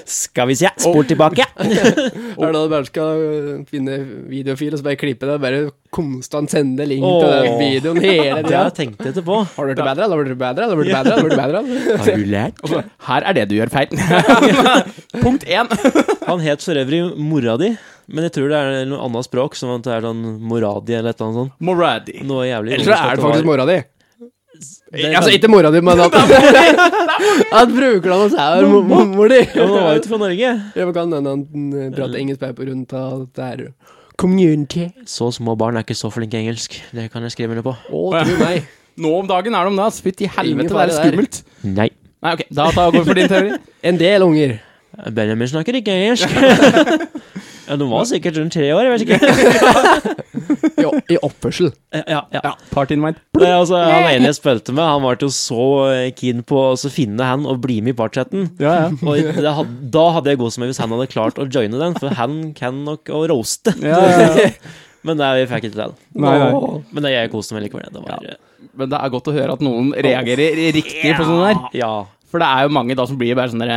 Speaker 3: Skal vi se. Spol
Speaker 2: <laughs>
Speaker 3: tilbake.
Speaker 1: <laughs> Er det da du bare skal øh, finne videofil og så bare klippe det? og Bare konstant sende link til
Speaker 3: Åh.
Speaker 1: den videoen hele
Speaker 3: Det
Speaker 1: tida?
Speaker 3: har jeg tenkt etterpå.
Speaker 1: Har du blitt bedre, eller har du blitt bedre, eller har du blitt bedre? eller Har du blitt bedre?
Speaker 3: Har du lært?
Speaker 2: Og så, Altså, her er det du gjør feil. <laughs> Punkt én.
Speaker 3: Han het for øvrig Mora di, men jeg tror det er noe annet språk, som at det er sånn Moradi eller et eller annet sånt.
Speaker 2: Moradi.
Speaker 3: Noe jævlig
Speaker 1: Eller så er det faktisk mora di.
Speaker 3: Det-
Speaker 1: Altså ikke mora di, men at <laughs> At bruker han oss her, mo- mo- mor di.
Speaker 3: Ja, men han var jo ikke fra Norge.
Speaker 1: Jeg kan hende han mm, prater engelsk bare på grunn av at det er community.
Speaker 3: Så små barn er ikke så flinke i engelsk. Det kan jeg skrive under på.
Speaker 1: Å, tro meg.
Speaker 2: Nå om dagen er de det, ass. Fytti
Speaker 1: Ingen
Speaker 2: helvete, det
Speaker 1: fare
Speaker 2: er
Speaker 1: der.
Speaker 2: skummelt.
Speaker 3: Nei.
Speaker 2: Nei, ok, da, da går vi for din teori.
Speaker 1: En del unger.
Speaker 3: Benjamin snakker ikke
Speaker 1: <laughs>
Speaker 3: engelsk. ja, De var sikkert rundt tre år, jeg vet ikke. Eh,
Speaker 1: I, o- i oppførsel.
Speaker 3: Ja, ja.
Speaker 2: Ja, part in mind.
Speaker 3: Nei, altså, han ene jeg spilte med, han var jo så eh, keen på å så finne han og bli med i partchatten.
Speaker 2: Ja, ja.
Speaker 3: Og det had, da hadde jeg gått som meg hvis han hadde klart å joine den, for han kan nok å roaste.
Speaker 2: Ja, ja, ja.
Speaker 3: Men nei, vi fikk ikke til.
Speaker 2: Nei, nei.
Speaker 1: Åh.
Speaker 3: Men det, jeg koste meg likevel. Det var, eh,
Speaker 2: Men det er godt å høre at noen reagerer riktig på sånn der.
Speaker 3: ja.
Speaker 2: For det er jo mange da som blir bare sånn der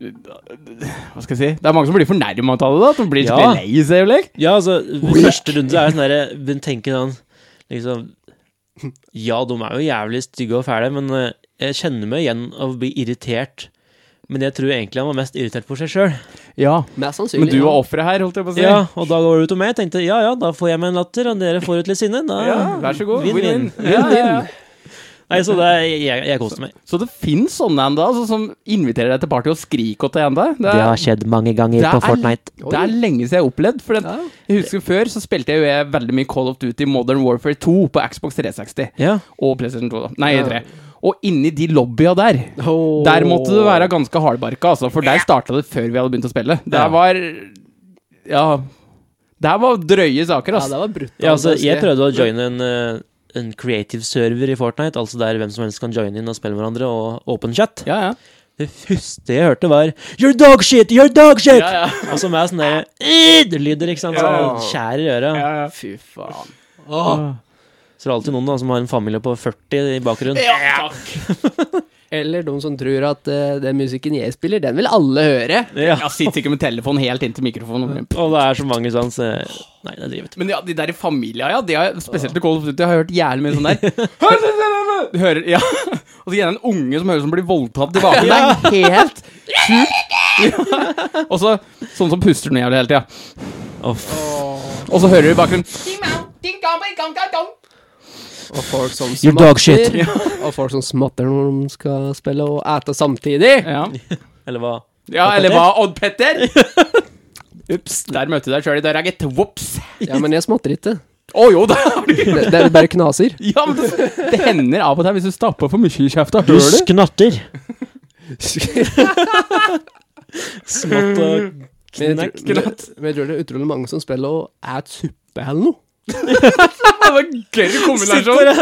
Speaker 2: eh, Hva skal jeg si? Det er mange som blir fornærma av det. da At de blir
Speaker 3: Ja.
Speaker 2: skikkelig lei seg. Eller?
Speaker 3: ja, altså, første runde er sånn derre Hun tenker sånn liksom Ja, de er jo jævlig stygge og fæle, men eh, jeg kjenner meg igjen av å bli irritert. Men jeg tror egentlig han var mest irritert på seg sjøl.
Speaker 2: Ja.
Speaker 1: Mest sannsynlig.
Speaker 2: Men du
Speaker 1: ja.
Speaker 2: var offeret her, holdt Altså, jeg på å si.
Speaker 3: Ja, og da går det utover meg. Jeg tenkte ja ja, da får jeg meg en latter, og dere får et litt sinne. Da,
Speaker 2: Ja, vær så god. Win-win.
Speaker 3: Vinn-vinn.
Speaker 2: Ja, ja, ja.
Speaker 3: Nei, så det, er- jeg, jeg koste meg.
Speaker 2: Så det fins sånne enda altså, som inviterer deg til party og skriker til enda. Det er,
Speaker 3: skjedd mange ganger
Speaker 2: Det på er- Fortnite.
Speaker 1: Oi.
Speaker 2: det er lenge siden jeg har opplevd. For det, jeg husker Før så spilte jeg jo jeg veldig mye Call of Duty Modern Warfare 2 på Xbox 360
Speaker 3: Ja.
Speaker 2: og PlayStation 2. da. Nei, 3. Og inni de lobbya der
Speaker 1: Åh.
Speaker 2: Der måtte du være ganske hardbarka, altså, for der starta det før vi hadde begynt å spille. Der
Speaker 3: Ja.
Speaker 2: var Ja. Der var drøye saker,
Speaker 1: Ja,
Speaker 2: altså.
Speaker 1: det var brutalt.
Speaker 3: Ja, altså, jeg
Speaker 1: husker
Speaker 3: prøvde å joine en, eh, en creative server i Fortnite, altså der hvem som helst kan joine inn og spille med hverandre, og open chat.
Speaker 2: Ja, ja.
Speaker 3: Det første jeg hørte, var 'You're dog shit! You're dog shit!'
Speaker 2: Ja, ja.
Speaker 3: Og så med sånn derre lyder, ikke sant?
Speaker 2: Ja.
Speaker 3: Sånn skjær i øret.
Speaker 1: Fy faen.
Speaker 3: Så det er alltid noen da som har en familie på 40 i bakgrunnen.
Speaker 1: Eller de som tror at eh, den musikken jeg spiller, den vil alle høre.
Speaker 3: Ja.
Speaker 2: Jeg sitter ikke med telefonen helt inntil mikrofonen.
Speaker 3: Og det er så mange sånn så Nei, det er drivet.
Speaker 1: <laughs>
Speaker 2: Men ja, de der i familia, ja. De har, spesielt i Call of Duty har jeg hørt jævlig mye sånn der. Du hører, ja. <laughs> Og så gir han en unge som høres som blir voldtatt tilbake. Det
Speaker 3: Ja.
Speaker 2: er helt sjukt. Ja. Og så sånn som puster den jævlig hele tida. Og så hører du i bakgrunnen
Speaker 1: <laughs> Og folk som
Speaker 3: Your dog shit.
Speaker 1: smatter. Og folk som smatter når de skal spille og ete samtidig.
Speaker 2: Ja,
Speaker 3: Eller hva?
Speaker 2: ja eller hva, Odd Petter? Ups. Der møtte du deg sjøl i døra, gitt. Vops.
Speaker 1: Ja, men jeg smatter ikke.
Speaker 2: Å jo, da <laughs> har du
Speaker 1: Det, det er bare knaser. <laughs>
Speaker 2: Ja, men det, det hender av og til hvis du stapper for mye i kjefta.
Speaker 3: Du
Speaker 2: Hører du?
Speaker 3: sknatter. Smatt og <laughs>
Speaker 1: Men jeg, tror,
Speaker 2: Knekk,
Speaker 1: men jeg tror det er utrolig mange som spiller og et suppe eller noe.
Speaker 2: Det var en gøy kombinasjon.
Speaker 3: Sitter og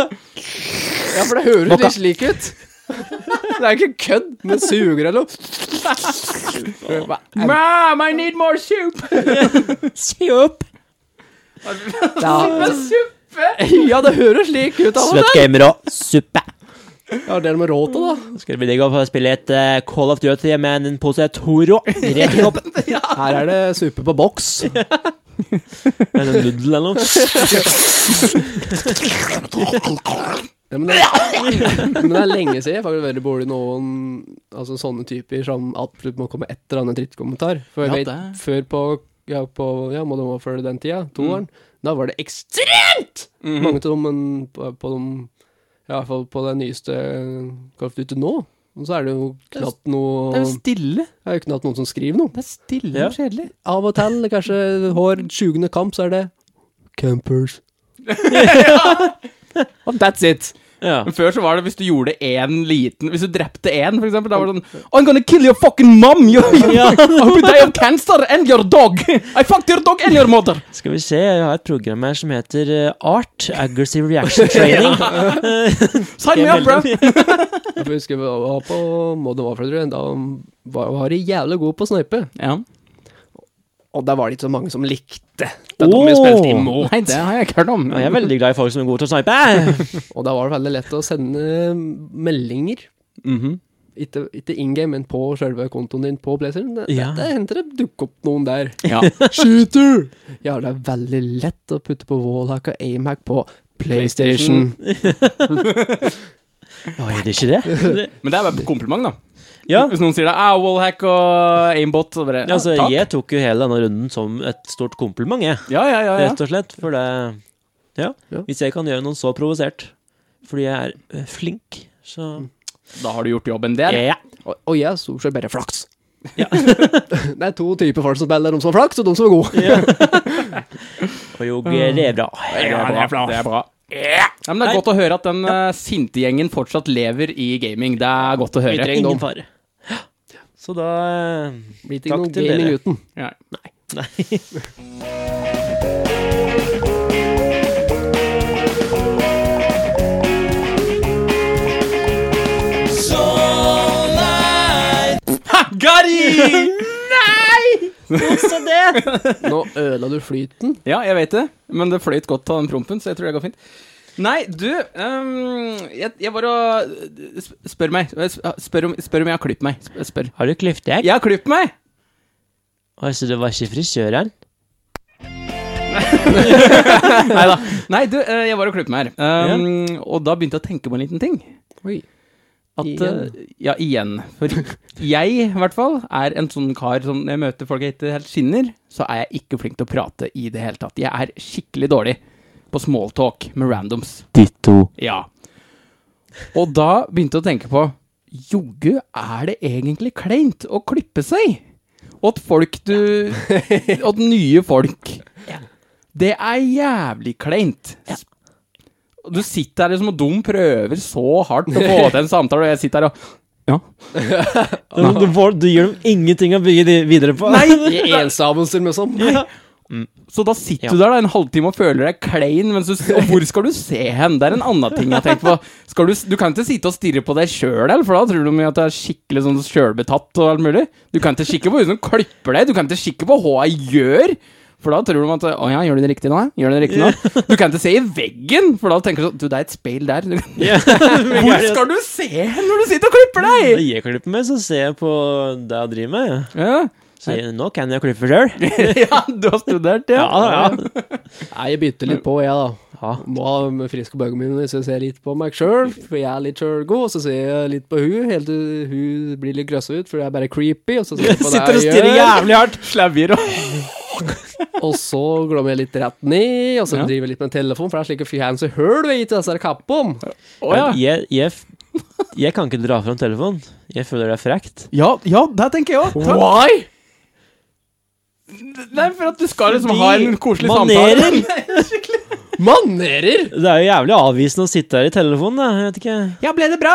Speaker 1: Ja, for det høres
Speaker 2: Mokka.
Speaker 1: litt slik ut. Det er ikke kødd, men suger eller noe. Hva er det?
Speaker 2: Mom, I need more soup.
Speaker 3: Se opp!
Speaker 1: <laughs> Ja,
Speaker 2: Suppe.
Speaker 1: Ja, det høres slik ut. av og til.
Speaker 3: Svett gamer og suppe.
Speaker 1: Ja, det er de har råd til, da.
Speaker 3: Skal vi ligge og spille et eh, Call of Duty med en pose Toro rett i koppen?
Speaker 1: Her er det suppe på boks. <laughs>
Speaker 3: Eller en nudel eller noe?
Speaker 1: Ja, men, det, <laughs> men det er lenge siden jeg faktisk har vært borti noen altså, sånne typer som absolutt må komme etter annen drittkommentar. For jeg
Speaker 2: Ja,
Speaker 1: vet,
Speaker 2: det-
Speaker 1: før på, ja, på ja, må det være før den tida, toeren, da var det ekstremt mange av dem men på, på dem ja, I hvert fall på det nyeste Call of Duty nå. Og så er det jo knapt noe
Speaker 2: Det er jo stille.
Speaker 1: Det er jo knapt noen som skriver noe.
Speaker 2: Det er stille
Speaker 3: Ja.
Speaker 2: og kjedelig.
Speaker 1: Av og til, kanskje hver 20. kamp, så er det Campers.
Speaker 2: Og that's it.
Speaker 3: Ja.
Speaker 2: Men før så var det hvis du gjorde én liten Hvis du drepte én, for eksempel, da var det sånn I'm gonna kill your fucking mom! You,
Speaker 3: Ja.
Speaker 2: <laughs> I hope you die of cancer and your dog! I fucked your dog and your mother!
Speaker 3: Skal vi se, jeg har et program her som heter eh, ART, Aggressive Reaction Training.
Speaker 2: Sign me up, bro!
Speaker 1: Jeg husker vi var på Modern Warfare, tror jeg. Da var, var de jævlig gode på å snipe.
Speaker 2: Ja.
Speaker 1: Og der var det ikke så mange som likte.
Speaker 3: Det er dem jeg spilte imot.
Speaker 2: Nei, det har jeg ikke hørt om.
Speaker 3: Og jeg er veldig glad i folk som er gode til å snipe.
Speaker 1: Og da var det veldig lett å sende meldinger.
Speaker 2: Mhm.
Speaker 1: Ikke, ikke in game, men på selve kontoen din på Blazeren. Det,
Speaker 3: Ja.
Speaker 1: det hender det dukker opp noen
Speaker 3: <laughs>
Speaker 1: der.
Speaker 2: Ja.
Speaker 1: Shooter! Ja, det er veldig lett å putte på wallhack og aimhack på PlayStation.
Speaker 3: Å, er det ikke det? det?
Speaker 2: Men det er bare et kompliment, da.
Speaker 3: Ja.
Speaker 2: Hvis noen sier det, ah, wallhack og aimbot og bare,
Speaker 3: Ja, Altså,
Speaker 2: takk.
Speaker 3: jeg tok jo hele denne runden som et stort kompliment, jeg.
Speaker 2: ja, ja, ja, ja.
Speaker 3: Rett og slett. For det Ja.
Speaker 1: Ja.
Speaker 3: Hvis jeg kan gjøre noen så provosert fordi jeg er eh, flink, så
Speaker 2: Da har du gjort jobben der.
Speaker 3: Ja.
Speaker 1: Og, og jeg har stort sett bare flaks. <laughs> det er to typer folk som spiller. De som har flaks, og de som er gode.
Speaker 3: Og jo, det er bra.
Speaker 2: Det er bra. Ja, men det er
Speaker 3: Nei.
Speaker 2: godt å høre at den eh, sinte gjengen fortsatt lever i gaming. Det er godt å
Speaker 3: Vi
Speaker 2: høre.
Speaker 3: trenger ingen fare. Så da eh,
Speaker 1: Blir det
Speaker 3: Takk
Speaker 1: ikke noe
Speaker 3: til
Speaker 1: gaming
Speaker 3: dere.
Speaker 1: uten.
Speaker 2: Ja.
Speaker 3: Nei.
Speaker 2: <laughs> Gary!
Speaker 3: Også det!
Speaker 1: Nå ødela du flyten.
Speaker 2: Ja, jeg vet det, men det fløyt godt av den prompen, så jeg tror det går fint. Nei, du ehm, jeg, jeg bare øh, sp- Spør meg. Sp- Spør om, spør om jeg har klippet meg. Sp- Spør.
Speaker 3: Har du klippet deg?
Speaker 2: Jeg har klippet meg!
Speaker 3: Altså, det var ikke frisøren?
Speaker 2: Neida. Nei, du, øh, jeg var og klippet meg her. Ehm, Og da begynte jeg å tenke på en liten ting.
Speaker 1: Oi.
Speaker 2: At,
Speaker 1: Igjen.
Speaker 2: eh, ja, igjen. For jeg, i hvert fall, er en sånn kar som når jeg møter folk jeg ikke helt skinner, så er jeg ikke flink til å prate i det hele tatt. Jeg er skikkelig dårlig på smalltalk med randoms.
Speaker 3: Ditto.
Speaker 2: Ja. Og da begynte jeg å tenke på Joggu, er det egentlig kleint å klippe seg? Åt folk du Åt nye folk. Det er jævlig kleint. Og Du sitter her liksom og dum prøver så hardt å få til en samtale, og jeg sitter her og Ja.
Speaker 3: Du, får- du gir dem ingenting å bygge de- videre på. <laughs>
Speaker 1: <laughs> I ensamelser med sånn.
Speaker 2: Så da sitter
Speaker 3: Ja.
Speaker 2: du der da en halvtime og føler deg klein, mens du, og hvor skal du se hen? Det er en annen ting jeg har tenkt på. Skal du, du kan ikke sitte og stirre på deg sjøl, for da tror du mye at du er skikkelig sånn sjølbetatt og alt mulig. Du kan ikke kikke på hun som klipper deg, du kan ikke kikke på hva jeg gjør. For da tror de at Å ja, gjør du det riktig nå? Gjør du det riktig nå? Du kan ikke se i veggen, for da tenker du sånn Du, det er et speil der. Du kan-
Speaker 3: Ja.
Speaker 2: Hvor skal du se hen når du sitter og klipper deg?
Speaker 3: Når jeg klipper meg, så ser jeg på det jeg driver med.
Speaker 2: Ja.
Speaker 3: Sier nå kan jeg klippe sjøl.
Speaker 2: <laughs> ja, du har studert, ja.
Speaker 1: Nei, jeg bytter litt på, jeg, da.
Speaker 3: Ja.
Speaker 1: Må ha med friske bøker mine hvis jeg ser litt på meg sjøl, for jeg er litt sjølgod, og så ser jeg litt på hun, helt til hun blir litt grøssa ut, for jeg er bare creepy, og så ser jeg på
Speaker 3: Sitter og
Speaker 1: det jeg
Speaker 3: stirrer
Speaker 1: gjør,
Speaker 3: jævlig hardt.
Speaker 2: Slauer og
Speaker 1: og så glommer jeg litt rett ned, og så
Speaker 2: Ja.
Speaker 1: driver jeg litt med telefon, for det er slike fancy høl vi gir til disse her kappene.
Speaker 2: Å ja.
Speaker 3: jeg, jeg, f- jeg kan ikke dra fram telefonen. Jeg føler det er frekt.
Speaker 2: ja. Ja, det tenker jeg òg.
Speaker 1: Why?
Speaker 2: Nei, for at du skal liksom
Speaker 3: Fordi
Speaker 2: ha en koselig
Speaker 3: manerer.
Speaker 2: samtale.
Speaker 1: Manerer!
Speaker 3: Det er jo jævlig avvisende å sitte her i telefonen, da. Jeg vet ikke.
Speaker 2: <laughs> ja, ble det <laughs> bra?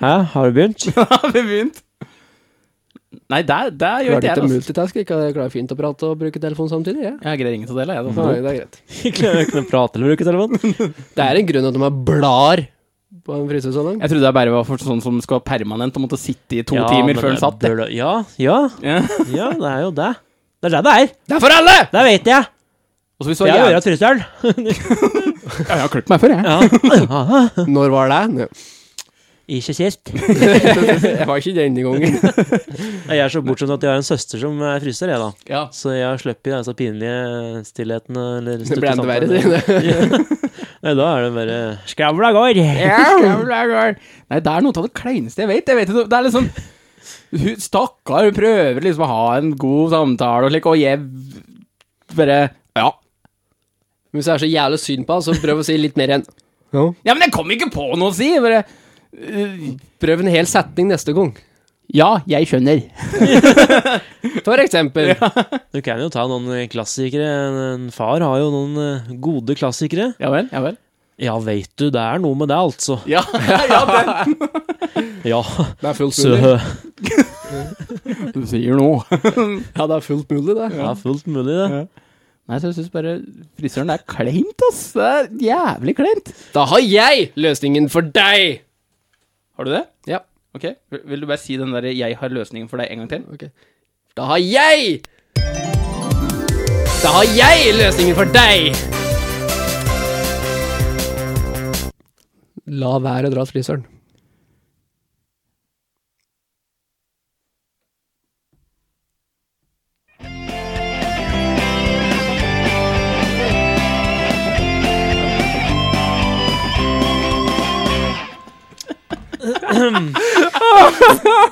Speaker 3: Hæ, har du
Speaker 2: <laughs>
Speaker 3: begynt?
Speaker 2: Har vi begynt? Nei, der, der gjør ikke
Speaker 1: Klarer du
Speaker 2: jeg
Speaker 1: ikke
Speaker 2: det. altså.
Speaker 1: multitask? Ikke jeg klarer fint å prate og bruke telefon samtidig, jeg.
Speaker 2: Jeg greier ingen av delene, jeg. altså. da.
Speaker 1: Nei, det er greit.
Speaker 3: Jeg klarer ikke å prate eller bruke telefonen.
Speaker 1: Det er en grunn at de er blar på en frysesalong.
Speaker 2: Jeg trodde jeg bare var for sånn som skal permanent og måtte sitte i to
Speaker 3: Ja,
Speaker 2: timer
Speaker 3: men
Speaker 2: før
Speaker 3: det
Speaker 2: den satt. det.
Speaker 3: bør da- Ja, ja,
Speaker 2: Ja. <laughs>
Speaker 3: ja, det er jo det. Det er det det er.
Speaker 1: Det er for alle!
Speaker 3: Det vet jeg.
Speaker 2: Og så hvis du
Speaker 3: For
Speaker 2: har
Speaker 3: jeg hører
Speaker 2: jævlig-
Speaker 3: at Tryssel.
Speaker 2: Ja, jeg har klippet meg før, jeg.
Speaker 3: Ja. Aha.
Speaker 1: Når var det? Nå.
Speaker 3: <laughs> Ikke sist.
Speaker 1: <laughs> Jeg var ikke den gangen.
Speaker 3: Jeg er så bortskjemt at jeg har en søster som er fryser, jeg, da.
Speaker 2: Ja.
Speaker 3: Så jeg slipper disse pinlige stillhetene eller
Speaker 1: Det ble enda verre.
Speaker 3: samtaler.
Speaker 1: det.
Speaker 3: <laughs> Nei, da er det bare Skravla går! <laughs>
Speaker 2: Nei, det er noe av det kleineste jeg vet. Jeg vet ikke, det er liksom hun, Stakkar, hun prøver liksom å ha en god samtale og slik, og jeg bare Ja.
Speaker 1: Men Hvis jeg er så jævlig synd på han, så prøv å si litt mer enn
Speaker 2: Ja, men jeg kom ikke på noe å si! Bare øh,
Speaker 1: Prøv en hel setning neste gang.
Speaker 2: Ja, jeg skjønner.
Speaker 1: For eksempel.
Speaker 3: Du kan jo ta noen eh, klassikere. En far har jo noen eh, gode klassikere.
Speaker 2: Ja vel? Ja vel?
Speaker 3: Ja, veit du, det er noe med det, altså.
Speaker 2: Ja, <laughs> ja den.
Speaker 3: Ja,
Speaker 1: Det er fullt
Speaker 3: så eh,
Speaker 1: mulig.
Speaker 2: Du sier noe.
Speaker 1: Ja, det er fullt mulig, det.
Speaker 3: Det er fullt mulig, det.
Speaker 2: Nei, så jeg syns bare frisøren er kleint, ass. Det er jævlig kleint.
Speaker 1: Da har jeg løsningen for deg!
Speaker 2: Har du det?
Speaker 1: Ja,
Speaker 2: Ok. Vil du bare si den derre 'jeg har løsningen for deg' en gang til?
Speaker 1: ok. Da har jeg Da har jeg løsningen for deg! La være å dra til frisøren.
Speaker 2: <laughs>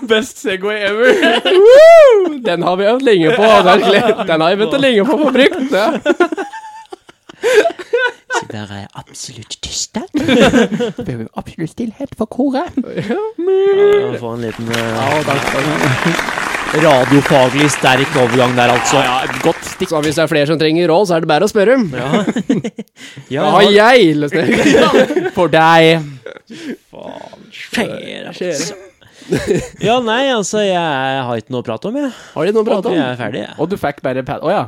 Speaker 2: Best Segway <laughs> ever.
Speaker 1: Den har vi øvd lenge på. <laughs> virkelig. Den har vi begynt å lenge på på brukt. Ja.
Speaker 3: Så der er jeg absolutt tyst, der.
Speaker 2: Behøver absolutt stillhet for koret.
Speaker 3: <laughs> Ja, Få en liten eh, <laughs> radiofaglig sterk overgang der, altså.
Speaker 2: Ja, et godt stikk.
Speaker 1: Så hvis det er flere som trenger råd, så er det bare å spørre.
Speaker 3: Ja.
Speaker 1: Da
Speaker 3: <laughs> Ja,
Speaker 1: har jeg løsningen.
Speaker 2: For deg.
Speaker 3: skjer, altså. Ja, nei, altså, jeg har ikke noe å prate om, jeg.
Speaker 1: Har de noe å prate
Speaker 3: Jeg
Speaker 1: om?
Speaker 3: er ferdig, jeg.
Speaker 2: Og du fikk bare pad... Å ja.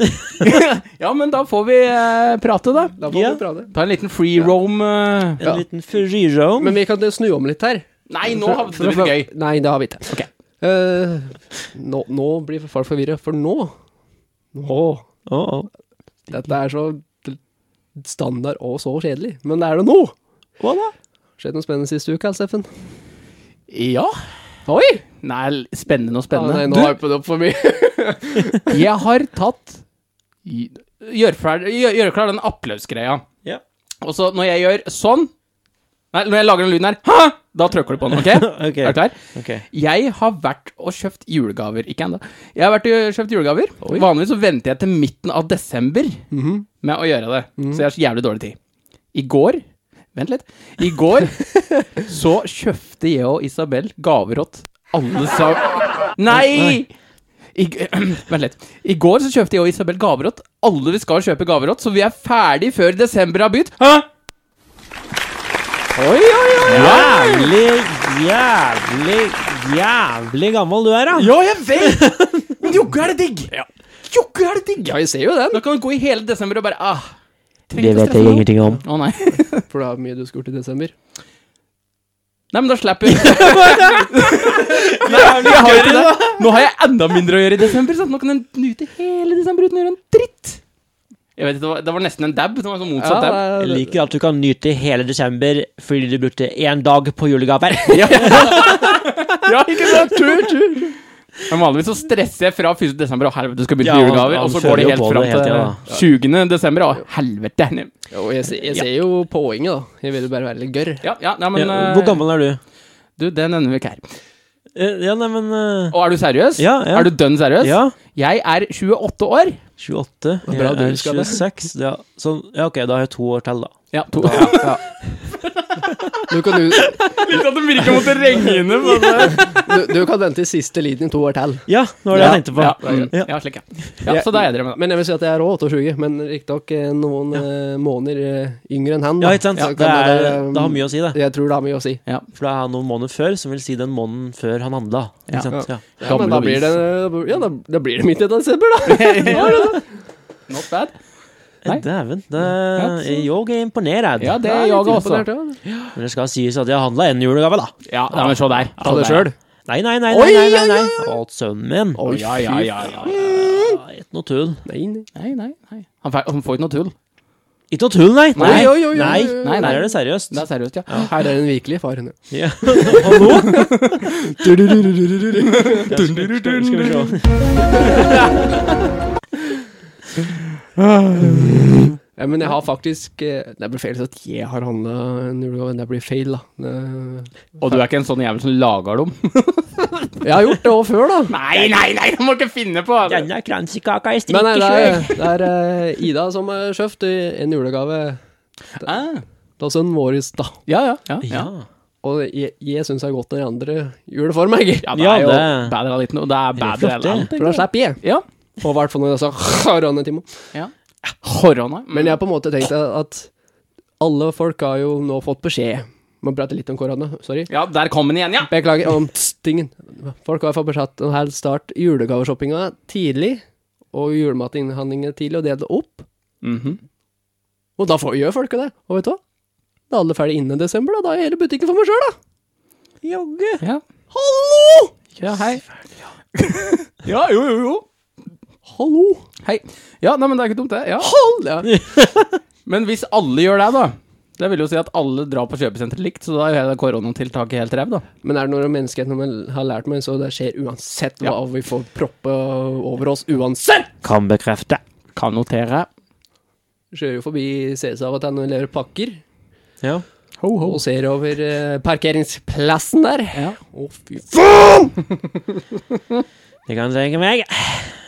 Speaker 2: <laughs> ja, men da får vi eh, prate, da.
Speaker 1: Da får
Speaker 3: Ja.
Speaker 1: vi prate.
Speaker 2: Ta en liten free roam. eh.
Speaker 3: En liten free-roam.
Speaker 1: Men vi kan snu om litt her.
Speaker 2: Nei, nå havnet
Speaker 1: For-
Speaker 2: det
Speaker 1: for-
Speaker 2: litt gøy.
Speaker 1: Nei, det har vi ikke.
Speaker 2: Ok.
Speaker 1: Eh, nå, nå blir folk forvirra, for nå Nå
Speaker 3: Å, å.
Speaker 1: Dette er så t- standard og så kjedelig, men det er det nå!
Speaker 3: Hva da?
Speaker 1: Skjedd noe spennende siste uke, Steffen?
Speaker 2: Ja.
Speaker 1: Oi!
Speaker 2: Nei, spennende og
Speaker 1: Ja, nei,
Speaker 2: spennende.
Speaker 1: nå har jeg på det opp for mye.
Speaker 2: du, jeg har tatt Gjør fer- gjør- gjør klar den applausgreia.
Speaker 3: Ja.
Speaker 2: Og så når jeg gjør sånn Nei, når jeg lager den lyden her, Hæ? da trykker du på den.
Speaker 1: <laughs>
Speaker 2: ok?
Speaker 3: Ok.
Speaker 2: Er du klar?
Speaker 3: ok.
Speaker 2: Jeg har vært og kjøpt julegaver. Ikke ennå. Jeg har vært og kjøpt julegaver. Vanligvis så venter jeg til midten av desember med å gjøre det. Så jeg har så jævlig dårlig tid. I går Vent litt. I <laughs> går så kjøpte jeg og Isabel gaver åt alle sa... Nei! I, g- <clears throat> vent litt. I går så kjøpte jeg og Isabel gaver åt alle vi skal kjøpe gaver åt, så vi er ferdig før desember har begynt. Hæ? Oi, oi, oi! oi.
Speaker 3: Jævlig, jævlig, jævlig gammel du er, da.
Speaker 2: Ja, jeg vet! Men jogge er det digg! Jogge er det digg!
Speaker 1: Ja, jeg ser jo
Speaker 2: Da
Speaker 1: den.
Speaker 2: kan du gå i hele desember og bare ah,
Speaker 3: Det vet jeg ingenting <laughs> om.
Speaker 2: Å nei.
Speaker 1: For det er mye du skulle gjort i desember.
Speaker 2: Nei, men da slipper
Speaker 3: <laughs>
Speaker 2: vi. Jeg har jo ikke det. Nå har jeg enda mindre å gjøre i desember, sant? nå kan jeg nyte hele desember uten å gjøre en dritt. Jeg vet ikke, Det var, det var nesten en dab. Det var en sånn motsatt dab.
Speaker 1: Ja,
Speaker 3: Jeg
Speaker 1: det-
Speaker 3: liker at du kan nyte hele desember fordi du <laughs> brukte én dag på julegaver. <laughs>
Speaker 2: Ja, ikke sant? True, true. Men vanligvis så stresser jeg fra 1. desember og helvete skal begynne
Speaker 3: Ja,
Speaker 2: med julegaver,
Speaker 3: han
Speaker 2: og så
Speaker 3: kjører
Speaker 2: går det
Speaker 3: jo
Speaker 2: helt
Speaker 3: på
Speaker 2: fram
Speaker 3: det hele tida,
Speaker 2: til 20. desember og helvete.
Speaker 1: Jo, jeg, se- jeg ser jo poenget, da. Jeg vil jo bare være litt gørr.
Speaker 2: Ja, ja, nei, men
Speaker 3: ja,
Speaker 2: eh,
Speaker 3: hvor gammel er du?
Speaker 2: Du, det nevner vi ikke her.
Speaker 3: Eh, Ja, nei, men eh,
Speaker 2: Og er du seriøs?
Speaker 3: Ja, ja.
Speaker 2: Er du dønn seriøs?
Speaker 3: Ja.
Speaker 2: Jeg er 28 år.
Speaker 3: 28.
Speaker 1: var
Speaker 3: Jeg
Speaker 1: bra du
Speaker 3: er
Speaker 1: husker det.
Speaker 3: 26. Ja, sånn, ja, ok, da har jeg to år til, da.
Speaker 2: Ja, to.
Speaker 1: Du kan, du,
Speaker 2: Litt <laughs> at de virker måtte regne inn
Speaker 1: du, du kan vente i siste liten i to år til.
Speaker 3: Ja, det var det jeg tenkte på.
Speaker 2: Ja, mm,
Speaker 3: Ja.
Speaker 2: ja, slik, ja. ja så da er jeg <laughs> drømmen, da.
Speaker 1: Men jeg vil si at jeg er òg 28, men riktignok eh, noen eh, måneder eh, yngre enn han. da.
Speaker 3: Ja, ikke sant?
Speaker 1: Ja,
Speaker 3: det,
Speaker 1: kan
Speaker 3: er,
Speaker 1: det være, um,
Speaker 3: det har mye å si, det.
Speaker 1: Jeg tror det har mye å si.
Speaker 3: For det er han noen måneder før, som vil si den måneden før han handla.
Speaker 2: Ja.
Speaker 3: Ikke sant? Ja.
Speaker 1: Ja, men da
Speaker 2: Gamle
Speaker 1: blir det,
Speaker 2: bevis.
Speaker 1: ja, da, da blir det midt i desember, da.
Speaker 2: Not bad. Nei.
Speaker 3: Dæven. det-
Speaker 2: Ja, så-
Speaker 3: Jeg er imponert.
Speaker 2: Ja, det
Speaker 1: Ja,
Speaker 2: er
Speaker 1: litt
Speaker 2: jeg også.
Speaker 1: imponert, ja.
Speaker 3: Men det skal sies at jeg handla en julegave, da.
Speaker 2: Ja, nei, men se der.
Speaker 1: Ta det sjøl.
Speaker 3: Nei, nei, nei.
Speaker 1: Oi,
Speaker 3: nei, nei,
Speaker 1: oi,
Speaker 3: nei, nei. Åt sønnen min.
Speaker 1: Oi,
Speaker 2: Ja, ja,
Speaker 1: fy
Speaker 2: ja, ja.
Speaker 3: Ja, Ikke noe tull.
Speaker 1: Nei, nei.
Speaker 2: Nei, nei, nei. Han fe- han får ikke noe tull.
Speaker 3: Ikke noe tull, nei.
Speaker 2: Nei,
Speaker 1: oi, oi, oi,
Speaker 3: nei.
Speaker 1: oi, oi.
Speaker 3: nei, Der er det seriøst.
Speaker 2: Det er seriøst, ja.
Speaker 1: Her er den virkelige faren.
Speaker 3: Ja.
Speaker 1: <laughs>
Speaker 3: Og nå skal vi se.
Speaker 1: Ja, men jeg har faktisk eh, Det blir feil at jeg har handla en julegave. Det blir feil, da. Det-
Speaker 2: Og du er ikke en sånn jævel som lager dem?
Speaker 1: Jeg har gjort det òg før, da.
Speaker 2: <laughs> Nei, nei, nei, du må ikke finne på det!
Speaker 3: <laughs> Denne kransekaka i
Speaker 1: Men nei, det
Speaker 3: strikkekjør.
Speaker 1: er, det er eh, Ida som har kjøpt eh, en julegave
Speaker 2: Ah,
Speaker 1: til sønnen vår, da.
Speaker 2: Ja, ja, ja. ja.
Speaker 3: Ja.
Speaker 1: Og jeg, jeg syns det er godt når de andre gjør det for meg.
Speaker 2: Ja, det
Speaker 3: Ja,
Speaker 2: er jo
Speaker 3: det-
Speaker 2: bedre enn liten, og det er
Speaker 3: Det er
Speaker 2: bedre
Speaker 3: flott,
Speaker 2: enn alt.
Speaker 1: For da slipper jeg.
Speaker 2: Ja.
Speaker 1: Og i hvert fall når jeg sa <laughs> koronatimo.
Speaker 2: Korona.
Speaker 1: Men jeg har på en måte tenkt at alle folk har jo nå fått beskjed. Må prate litt om korona. Sorry.
Speaker 2: Ja, der kom den igjen, ja!
Speaker 1: Beklager om tstingen. Folk har fått beskjed om å helst starte julegaveshoppinga tidlig, og julematinnhandlinga tidlig, og dele det opp.
Speaker 2: Mhm.
Speaker 1: Og da får gjør folk det. Og vet du hva? Da er alle ferdig innen desember, da. Da er hele butikken for meg sjøl, da.
Speaker 3: Jogge.
Speaker 2: ja.
Speaker 1: Hallo!
Speaker 2: Ja, hei. ja, jo, jo, jo.
Speaker 1: Hallo!
Speaker 2: Hei. Ja, nei, men det er ikke dumt, det. Ja.
Speaker 1: Hallo! Ja.
Speaker 2: Men hvis alle gjør det, da Det vil jo si at alle drar på kjøpesenteret likt, så da er jo hele koronatiltaket helt ræv, da.
Speaker 1: Men er det noe menneskeheten man har lært meg, så det skjer uansett hva
Speaker 2: Ja.
Speaker 1: vi får proppe over oss. Uansett!
Speaker 3: Kan bekrefte.
Speaker 2: Kan notere.
Speaker 1: Kjører jo forbi CS av at han leverer pakker,
Speaker 3: Ja.
Speaker 2: Ho, ho.
Speaker 1: og ser over eh, parkeringsplassen der.
Speaker 2: Ja.
Speaker 1: Å, fy f...
Speaker 3: Det kan trenge meg.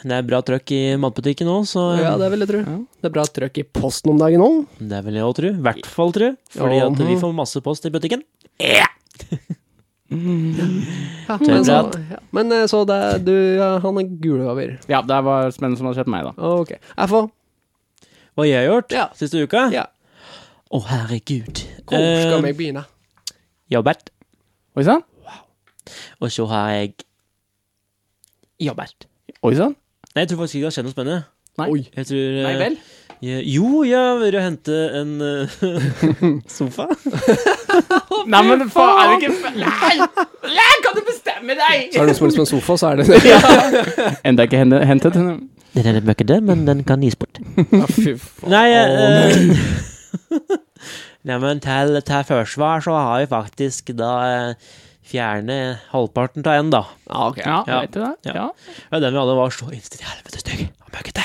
Speaker 3: Det er bra trøkk i matbutikken òg, så
Speaker 1: Ja, det vil jeg tro. Det er bra trøkk i posten om dagen òg.
Speaker 3: mm, Det vil jeg òg tro. I hvert fall tro. Fordi
Speaker 1: Ja,
Speaker 3: at vi
Speaker 1: mhm.
Speaker 3: får masse post i butikken.
Speaker 1: Ja, men, så,
Speaker 3: Tøybrett.
Speaker 1: ja. men eh, så det, du, ja, han har gule gaver.
Speaker 2: ja, det var spennende som hadde skjedd meg, da.
Speaker 1: Ok. FH.
Speaker 3: Hva jeg har gjort
Speaker 1: Ja.
Speaker 3: siste uka? Å,
Speaker 1: Ja.
Speaker 3: herregud.
Speaker 1: Hvor skal
Speaker 3: Eh,
Speaker 1: jeg begynne?
Speaker 3: jobbert.
Speaker 2: Oi sann.
Speaker 3: Og så har jeg jobbert.
Speaker 2: Oi sann.
Speaker 3: Nei, jeg tror faktisk ikke det har skjedd noe spennende.
Speaker 2: Nei.
Speaker 1: Oi.
Speaker 3: Jeg tror, eh,
Speaker 2: Nei vel?
Speaker 3: Jeg, jo, jeg har vært og hente en eh, <laughs> sofa.
Speaker 2: Nei, men faen, er det ikke Nei! Nei, kan du bestemme deg?!
Speaker 1: Så er det noen som har lyst på en sofa, så er det <laughs> det.
Speaker 2: Enda ikke hende- hentet.
Speaker 3: Den er litt møkkete, men den kan gis bort.
Speaker 1: Ja, fy faen.
Speaker 3: Nei, eh, <laughs> Nei, men til, til forsvar så har vi faktisk da eh, fjerne halvparten av en, da.
Speaker 1: Ja, ok.
Speaker 2: Ja,
Speaker 3: Ja.
Speaker 2: vet du det?
Speaker 3: Ja.
Speaker 2: Ja.
Speaker 3: Ja, den vi hadde var så innstilt i helvete stygg og
Speaker 1: <laughs>
Speaker 3: møkkete.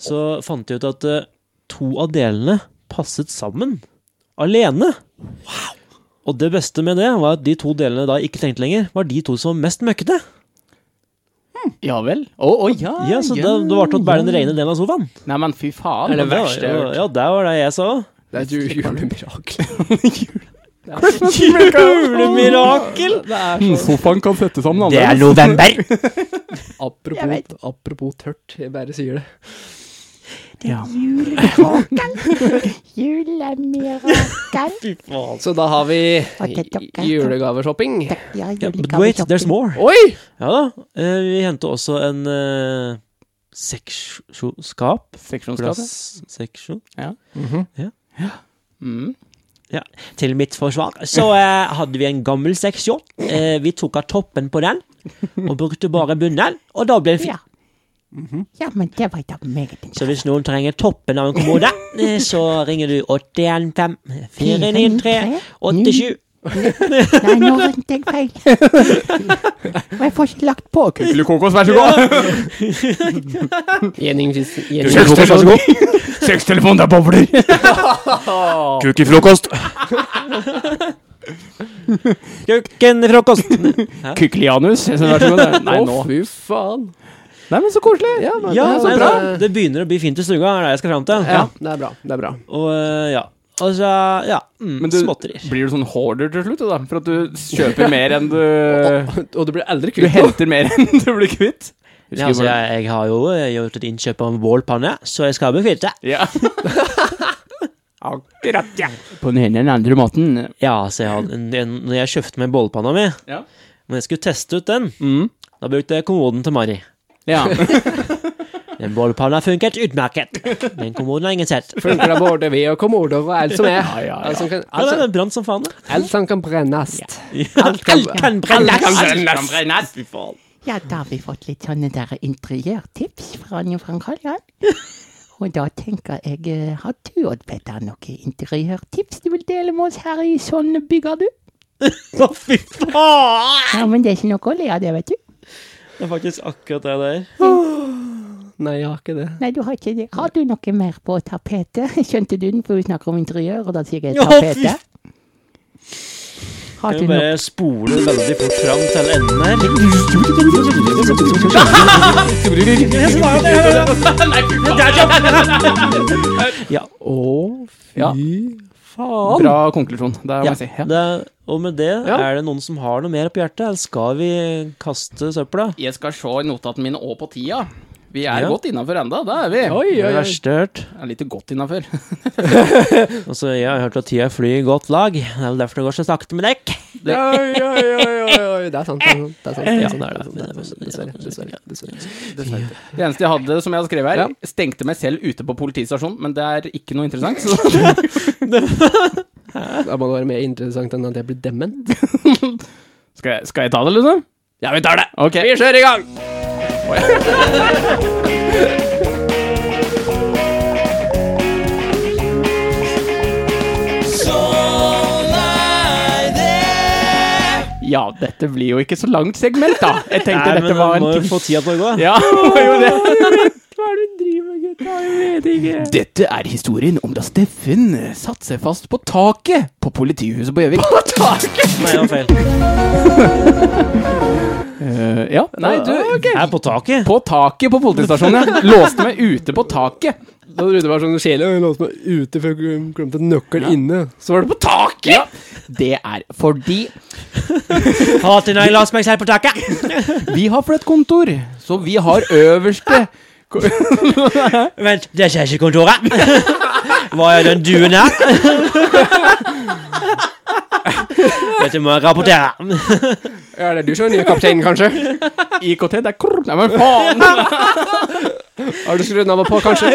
Speaker 3: Så fant jeg ut at eh, to av delene passet sammen. Alene. Og det beste med det var at de to delene da jeg ikke tenkte lenger, var de to som var mest møkkete.
Speaker 2: Ja vel? Å, å, ja,
Speaker 3: Ja, så det, det var til å bære den rene delen av sofaen.
Speaker 2: Nei, men fy faen.
Speaker 1: Er det
Speaker 3: Og var-
Speaker 1: verste jeg har hørt.
Speaker 3: Ja, det var det jeg sa.
Speaker 1: Det er et ju- julemirakel.
Speaker 3: Julemirakel!
Speaker 1: Det er
Speaker 2: Mm,
Speaker 1: så
Speaker 2: Sofaen kan sette sammen altså. annerledes.
Speaker 3: november!
Speaker 2: <laughs>
Speaker 1: Apropos, apropos tørt, jeg bare sier det.
Speaker 2: Ja.
Speaker 4: <laughs> Julemirakel.
Speaker 3: Fy faen.
Speaker 1: Så da har vi
Speaker 4: Ok, takk.
Speaker 1: julegaveshopping.
Speaker 4: Ja,
Speaker 3: Ja, but wait, there's more.
Speaker 1: Oi!
Speaker 3: Ja da. eh, Vi hentet også en eh, seksjonskap.
Speaker 2: Seksjonsklasse.
Speaker 3: Glassseksjon.
Speaker 2: Mhm. Mm.
Speaker 3: Til mitt forsvar så eh, hadde vi en gammel seksjon. Eh, vi tok av toppen på den og brukte bare bunnen, og da ble det fint.
Speaker 4: Ja. ja, men det var da meget
Speaker 3: Så hvis noen trenger toppen av en kommode, eh, så ringer du 815 493 87
Speaker 4: Nei, nå rømte jeg feil. Og jeg får ikke lagt på.
Speaker 2: Kukulukokos, vær så god!
Speaker 1: Gjening fisk- gjening-
Speaker 2: Kjøkkentelefon, vær så god! <laughs> Sextelefon, det er bobler! Kuk i frokost!
Speaker 3: Kukken i frokost!
Speaker 2: Kuklianus. jeg synes, Vær så god. Nei,
Speaker 1: Å,
Speaker 2: nå.
Speaker 1: fy faen.
Speaker 2: Nei, men så koselig.
Speaker 1: Ja, men
Speaker 3: Ja,
Speaker 1: det,
Speaker 3: nei,
Speaker 1: er
Speaker 3: det,
Speaker 1: bra.
Speaker 3: det begynner å bli fint i stua, er det jeg skal fram til.
Speaker 1: ja, det er bra. Det er bra.
Speaker 3: Og eh, ja. Altså, ja. Mm,
Speaker 2: Men du
Speaker 3: småtterier.
Speaker 2: blir du sånn hoarder til slutt, da? For at du <laughs> kjøper mer enn du
Speaker 1: Og du blir aldri
Speaker 2: Du
Speaker 1: kvitt noe.
Speaker 2: henter mer enn du blir kvitt.
Speaker 3: Ja, altså, jeg, jeg har jo eh, gjort et innkjøp av en bålpanne, så jeg skal bli kvitte.
Speaker 2: Ja. <laughs> Akkurat, ja. På den ene eller den andre måten.
Speaker 3: Ja, så jeg hadde, en- en- når jeg kjøpte meg bålpanna mi,
Speaker 2: Ja.
Speaker 3: når jeg skulle teste ut den,
Speaker 2: Mm.
Speaker 3: da brukte jeg kommoden til Mari.
Speaker 2: <laughs> ja.
Speaker 3: Den bålpanna funket utmerket, men kommoden har ingen sett.
Speaker 1: Funker det både ved og kommode og alt som er.
Speaker 2: Ja, ja, ja.
Speaker 1: Alt som kan,
Speaker 3: Ja,
Speaker 1: alt,
Speaker 2: Altså-
Speaker 3: nei,
Speaker 1: som,
Speaker 3: den brant som faen. det.
Speaker 1: alt som kan brennes.
Speaker 3: Alt kan brennes!
Speaker 2: altså,
Speaker 3: Fy faen.
Speaker 4: Ja, da har vi fått litt sånne der interiørtips fra Anne Frank Halland. Og da tenker jeg, eh, har du, Odd Petter, noen interiørtips du vil dele med oss her i Sånn bygger du?
Speaker 3: Å, fy faen!
Speaker 4: Ja, men det er ikke noe å le av det, vet du.
Speaker 3: Det er faktisk akkurat det der.
Speaker 1: Nei, jeg har ikke det.
Speaker 4: Nei, du har ikke det. Har du noe mer på tapetet? <laughs> Skjønte du den, for vi snakker om interiør, og da sier jeg
Speaker 3: Ja,
Speaker 4: tapetet. Har
Speaker 3: Jeg
Speaker 4: du
Speaker 3: må
Speaker 4: noe
Speaker 3: bare spole veldig fort fram til enden her. Ja,
Speaker 1: Å, fy
Speaker 2: Ja.
Speaker 1: faen.
Speaker 2: Bra konklusjon. Det må jeg si. Ja.
Speaker 3: det, og med det,
Speaker 1: Ja.
Speaker 3: er det noen som har noe mer på hjertet, eller skal vi kaste søpla?
Speaker 2: Jeg skal se i notatene mine og på tida. Vi er
Speaker 3: Ja.
Speaker 2: godt innafor enda, det er vi.
Speaker 1: Oi,
Speaker 3: Det
Speaker 1: oi, oi.
Speaker 3: verste jeg har hørt.
Speaker 2: Jeg er litt godt <laughs> innafor.
Speaker 3: Altså, jeg har hørt at tida flyr i godt lag. Det er vel derfor det går så sakte med dekk.
Speaker 1: Oi, oi, oi, oi, oi. Det er sant. Det er sant. Det er sant. Det
Speaker 3: Ja,
Speaker 1: er sant.
Speaker 3: det er det.
Speaker 1: Det er sant. Dessverre. Dessverre. Dessverre.
Speaker 2: Det eneste jeg hadde som jeg har skrevet her,
Speaker 1: Ja.
Speaker 2: stengte meg selv ute på politistasjonen, men det er ikke noe interessant. Så.
Speaker 1: Da må det være mer interessant enn at jeg blir dement.
Speaker 2: Skal, jeg, skal jeg ta det, liksom? Ja, vi tar det. Vi kjører i gang. Ja, dette blir jo ikke så langt segment, da. Jeg tenkte
Speaker 3: Nei, men
Speaker 2: dette
Speaker 3: vi
Speaker 2: var
Speaker 3: må
Speaker 2: en
Speaker 3: jo få tida til å gå.
Speaker 2: Ja, det var jo det.
Speaker 1: Hva er det du driver med, gutta? Jeg vet ikke.
Speaker 2: Dette er historien om da Steffen satte seg fast på taket på politihuset på Gjøvik. På taket?
Speaker 3: Nei, det var feil.
Speaker 2: Eh, ja, nei, du
Speaker 3: Jeg er på taket.
Speaker 2: På taket på politistasjonen. ja. Låste meg ute på taket.
Speaker 1: Da trodde jeg det var sånn kjedelig. Jeg låste meg ute før jeg glemte nøkkelen inne.
Speaker 2: Så var det på taket! Det er fordi
Speaker 3: Hater når jeg laser meg selv på taket.
Speaker 2: vi har flytt kontor, så vi har øverste <laughs>
Speaker 3: Vent, det skjer ikke i kontoret. <laughs> Hva er den duen her? <laughs> Dette må jeg rapportere.
Speaker 1: Ja, det er du som er nye kapteinen, kanskje?
Speaker 2: IKT. Det er krr, Nei, men faen!
Speaker 1: Har du skrudd av og på, kanskje?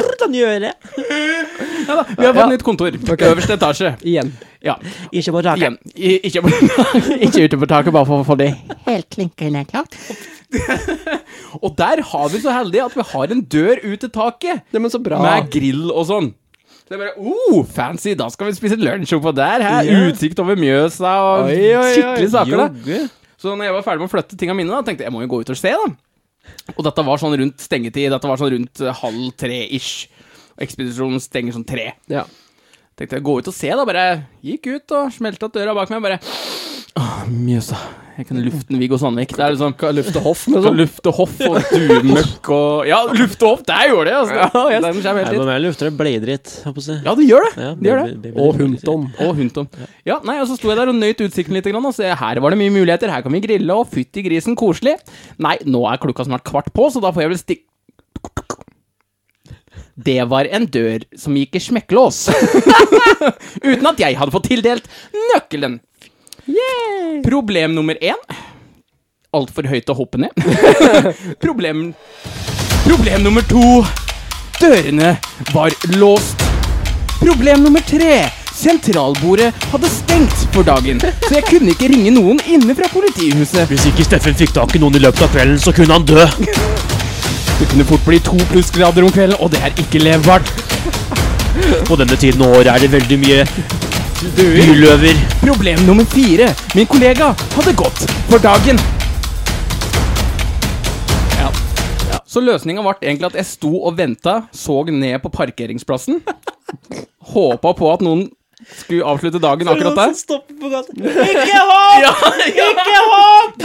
Speaker 3: Hvordan gjør jeg det?
Speaker 2: Vi har fått nytt kontor. Øverste etasje.
Speaker 1: Igjen.
Speaker 2: Ja.
Speaker 3: Ikke på taket.
Speaker 2: Igjen. I, ikke, på- <laughs> ikke ute på taket, bare for å få det
Speaker 4: helt klinkende klart?
Speaker 2: Og der har vi så heldige at vi har en dør ut til taket.
Speaker 1: Ja, men så bra.
Speaker 2: Med grill og sånn. Så jeg bare oh, fancy! Da skal vi spise lunsj oppå der. Her. Utsikt over Mjøsa og
Speaker 1: Oi, oi, oi.
Speaker 2: skikkelig saker. da
Speaker 1: Jogge.
Speaker 2: Så når jeg var ferdig med å flytte tinga mine, da, tenkte jeg jeg må jo gå ut og se, da. Og dette var sånn rundt stengetid. Dette var sånn rundt eh, halv tre-ish. Og Ekspedisjonen stenger sånn tre.
Speaker 1: Ja.
Speaker 2: Tenkte jeg gå ut og se, da. Bare gikk ut og smelta døra bak meg. Bare Åh, Mjøsa. Jeg kan lufte en Viggo Sandvik. Det er liksom
Speaker 1: Lufte hoff med
Speaker 2: Sånn
Speaker 1: sånn.
Speaker 2: luftehoff og dunøkk og Ja, luftehoff, der gjorde det, altså! Ja, Den kommer
Speaker 3: Nei,
Speaker 2: helt
Speaker 3: men
Speaker 2: dit.
Speaker 3: jeg lufter det bleidritt, holdt på å si.
Speaker 2: Ja, det gjør det.
Speaker 3: Ja,
Speaker 2: det gjør det.
Speaker 3: baby- baby-
Speaker 1: Og hundtom.
Speaker 2: Og hundtom. Ja, nei, og så sto jeg der og nøyt utsikten litt, og så jeg, her var det mye muligheter, her kan vi grille, og fytti grisen, koselig. Nei, nå er klokka snart kvart på, så da får jeg vel stikk... Det var en dør som gikk i smekkelås. <laughs> Uten at jeg hadde fått tildelt nøkkelen. Problem nummer én altfor høyt å hoppe ned. <laughs> Problem Problem nummer to dørene var låst. Problem nummer tre. Sentralbordet hadde stengt for dagen, så jeg kunne ikke ringe noen inne fra politihuset.
Speaker 5: Hvis ikke Steffen fikk tak i noen i løpet av kvelden, så kunne han dø.
Speaker 2: Det kunne fort bli to plussgrader om kvelden, og det er ikke levbart.
Speaker 5: På denne tiden av året er det veldig mye
Speaker 2: døer.
Speaker 3: Byløver.
Speaker 2: Problem nummer fire. Min kollega hadde gått for dagen. Ja. ja. Så løsninga ble egentlig at jeg sto og venta, så ned på <laughs> parkeringsplassen. Håpa på at noen skulle avslutte dagen akkurat der.
Speaker 3: stopper på gata. Ikke hopp! Ikke
Speaker 2: <laughs>
Speaker 3: hopp!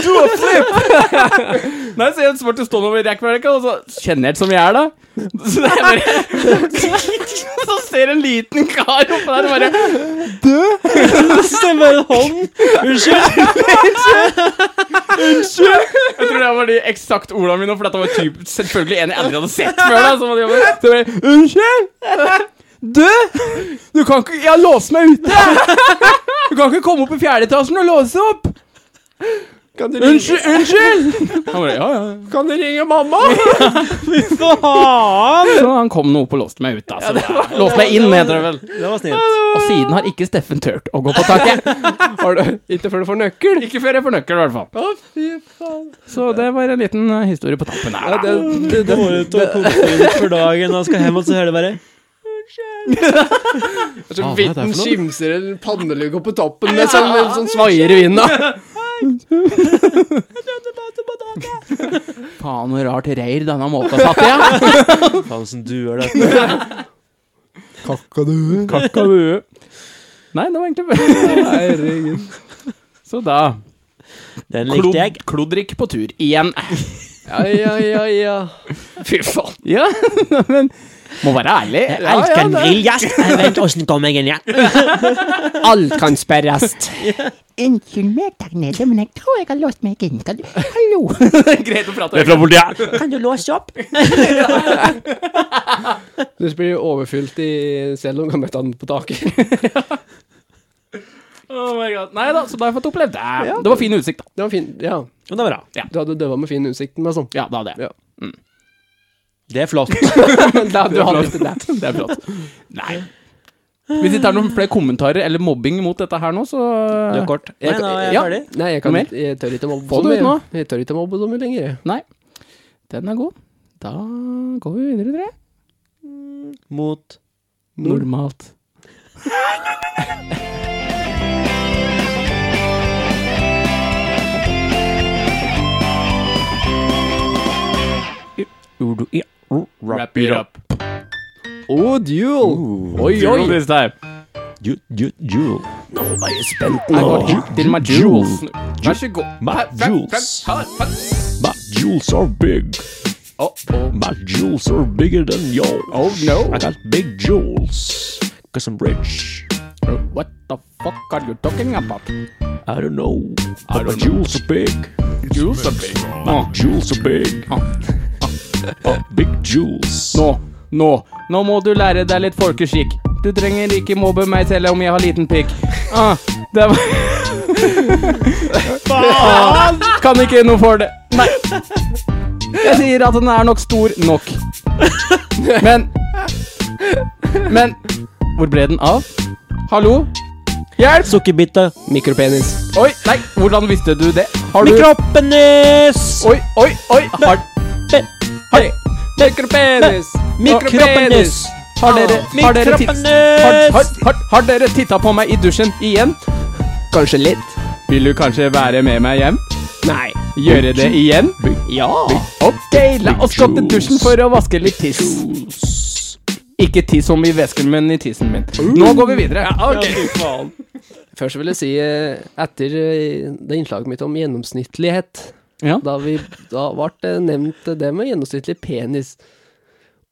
Speaker 2: Nei, så jeg svarte stående over rekkverket, og så kjenner jeg det som jeg er da. Så, det er bare, <laughs> så ser en liten kar oppå der og bare
Speaker 3: Det er bare en hånd. Unnskyld.
Speaker 2: Jeg tror det var de eksakt ordene mine, for dette var typ, selvfølgelig en jeg aldri hadde sett før. da Så var det jo bare- så jeg bare Unnskyld! Du! Du kan ikke Jeg har låst meg ute! Du kan ikke komme opp i fjerde etasjen og låse opp!
Speaker 1: Kan du
Speaker 2: Unnskyld! Unnskyld! Han bare, ja, ja.
Speaker 1: Kan du ringe mamma? <laughs>
Speaker 3: Faen!
Speaker 2: Så han kom nå opp og låste meg ute. Altså. låste meg inn, heter det vel.
Speaker 3: Det var snilt.
Speaker 2: Og siden har ikke Steffen turt å gå på taket. Har du? Ikke før du får nøkkel. Ikke før jeg får nøkkel, i hvert fall.
Speaker 1: Å, fy faen.
Speaker 2: Så det var en liten eh, historie på tampen her.
Speaker 1: Ja,
Speaker 2: da.
Speaker 1: det, det, det,
Speaker 3: Går ut og koker ut for dagen og skal hjem, og så hører det bare
Speaker 1: så
Speaker 2: Ah, hva er det
Speaker 1: vidt
Speaker 2: for noe?
Speaker 1: den sånn skimser en pannelugg opp på toppen med sånn, sånn svaier i vinden.
Speaker 2: Faen, hvor rart reir denne måten satt i. <laughs> Ja.
Speaker 3: Faen, åssen du gjør dette.
Speaker 1: Kakadue.
Speaker 2: Kakadue. Nei, det var egentlig
Speaker 1: Herregud.
Speaker 2: <laughs> Så da
Speaker 3: Den likte jeg.
Speaker 2: Klod, Klodrik på tur igjen. <laughs>
Speaker 1: Ja, ja, ja, ja. Fy faen.
Speaker 2: Ja, <laughs> men Må være ærlig.
Speaker 3: Jeg
Speaker 2: Ja,
Speaker 3: elsker
Speaker 2: ja,
Speaker 3: en
Speaker 2: det-
Speaker 3: grillgjest. Jeg vet åssen kom jeg inn igjen.
Speaker 1: Alt kan sperres.
Speaker 4: Unnskyld meg der nede, men jeg tror jeg har låst meg inn. Kan du, hallo,
Speaker 2: <laughs> Greit å prate
Speaker 5: Det er fra politiet.
Speaker 4: kan du låse opp?
Speaker 1: Du blir overfylt i selv om du kan møte han på taket.
Speaker 2: <laughs>
Speaker 1: <laughs>
Speaker 2: Oh my God. Nei da, så da har jeg fått opplevd det. Det var fin utsikt, da.
Speaker 1: Det var fin, ja.
Speaker 3: Men det er bra.
Speaker 1: Du hadde døva med fin utsikt, men sånn.
Speaker 2: Ja, det hadde jeg.
Speaker 1: Ja.
Speaker 3: Det er flott.
Speaker 1: Da, du hadde ikke det.
Speaker 2: <laughs> Det er flott. Nei. Hvis det ikke er noen flere kommentarer eller mobbing mot dette her nå, så
Speaker 3: Du er kort. Nei, nå er jeg
Speaker 2: Ja.
Speaker 3: ferdig.
Speaker 1: Nei, jeg,
Speaker 2: Noe
Speaker 1: kan,
Speaker 2: mer?
Speaker 1: jeg tør ikke mobbe
Speaker 2: Få
Speaker 1: så
Speaker 2: det ut
Speaker 1: mye.
Speaker 2: nå.
Speaker 1: Jeg tør ikke mobbe så mye lenger. jeg.
Speaker 2: Nei. Den er god. Da går vi videre, dere.
Speaker 3: Mot
Speaker 2: Normalt. Wrap it up.
Speaker 1: Oh, duel!
Speaker 2: Oi, oi! This time. I got hit in my jewels. Vær så god.
Speaker 5: My jewels. My jewels are big.
Speaker 2: Oh, oh.
Speaker 5: My jewels are bigger than yours.
Speaker 2: Oh, no.
Speaker 5: I got big jewels. Cause I'm rich.
Speaker 2: What the fuck are you talking about?
Speaker 5: I don't know. I don't my jewels are big.
Speaker 2: Jewels are big.
Speaker 5: My jewels are big.
Speaker 2: Oh.
Speaker 5: Uh, <laughs> big jewels.
Speaker 2: Nå, nå, nå må du lære deg litt folkeskikk. Du trenger ikke mobbe meg selv om jeg har liten pikk. Ah, det var Faen! Kan ikke noe for det. Nei. Jeg sier at den er nok stor nok. Men Men hvor ble den av? Hallo? Hjelp!
Speaker 3: sukkerbitte.
Speaker 1: Mikropenis.
Speaker 2: Oi, nei, hvordan visste du det? Har du
Speaker 3: Mikropenis!
Speaker 2: Oi, oi, oi! Har, har,
Speaker 1: Mikropenis!
Speaker 3: Mikropenis!
Speaker 2: har dere, har dere titt... Har, har, har, har dere titta på meg i dusjen igjen?
Speaker 1: Kanskje litt.
Speaker 2: Vil du kanskje være med meg hjem?
Speaker 1: Nei.
Speaker 2: Gjøre det igjen?
Speaker 5: Big
Speaker 2: Ja. Ok, la oss gå til dusjen for å vaske litt tiss.
Speaker 5: jewels.
Speaker 2: Ikke tiss som i vesken, men i tissen min. Nå går vi videre. Ja,
Speaker 1: Først vil jeg si, eh, etter eh, det innslaget mitt om gjennomsnittlighet,
Speaker 2: Ja.
Speaker 1: da, vi, da ble det nevnt det med gjennomsnittlig penis.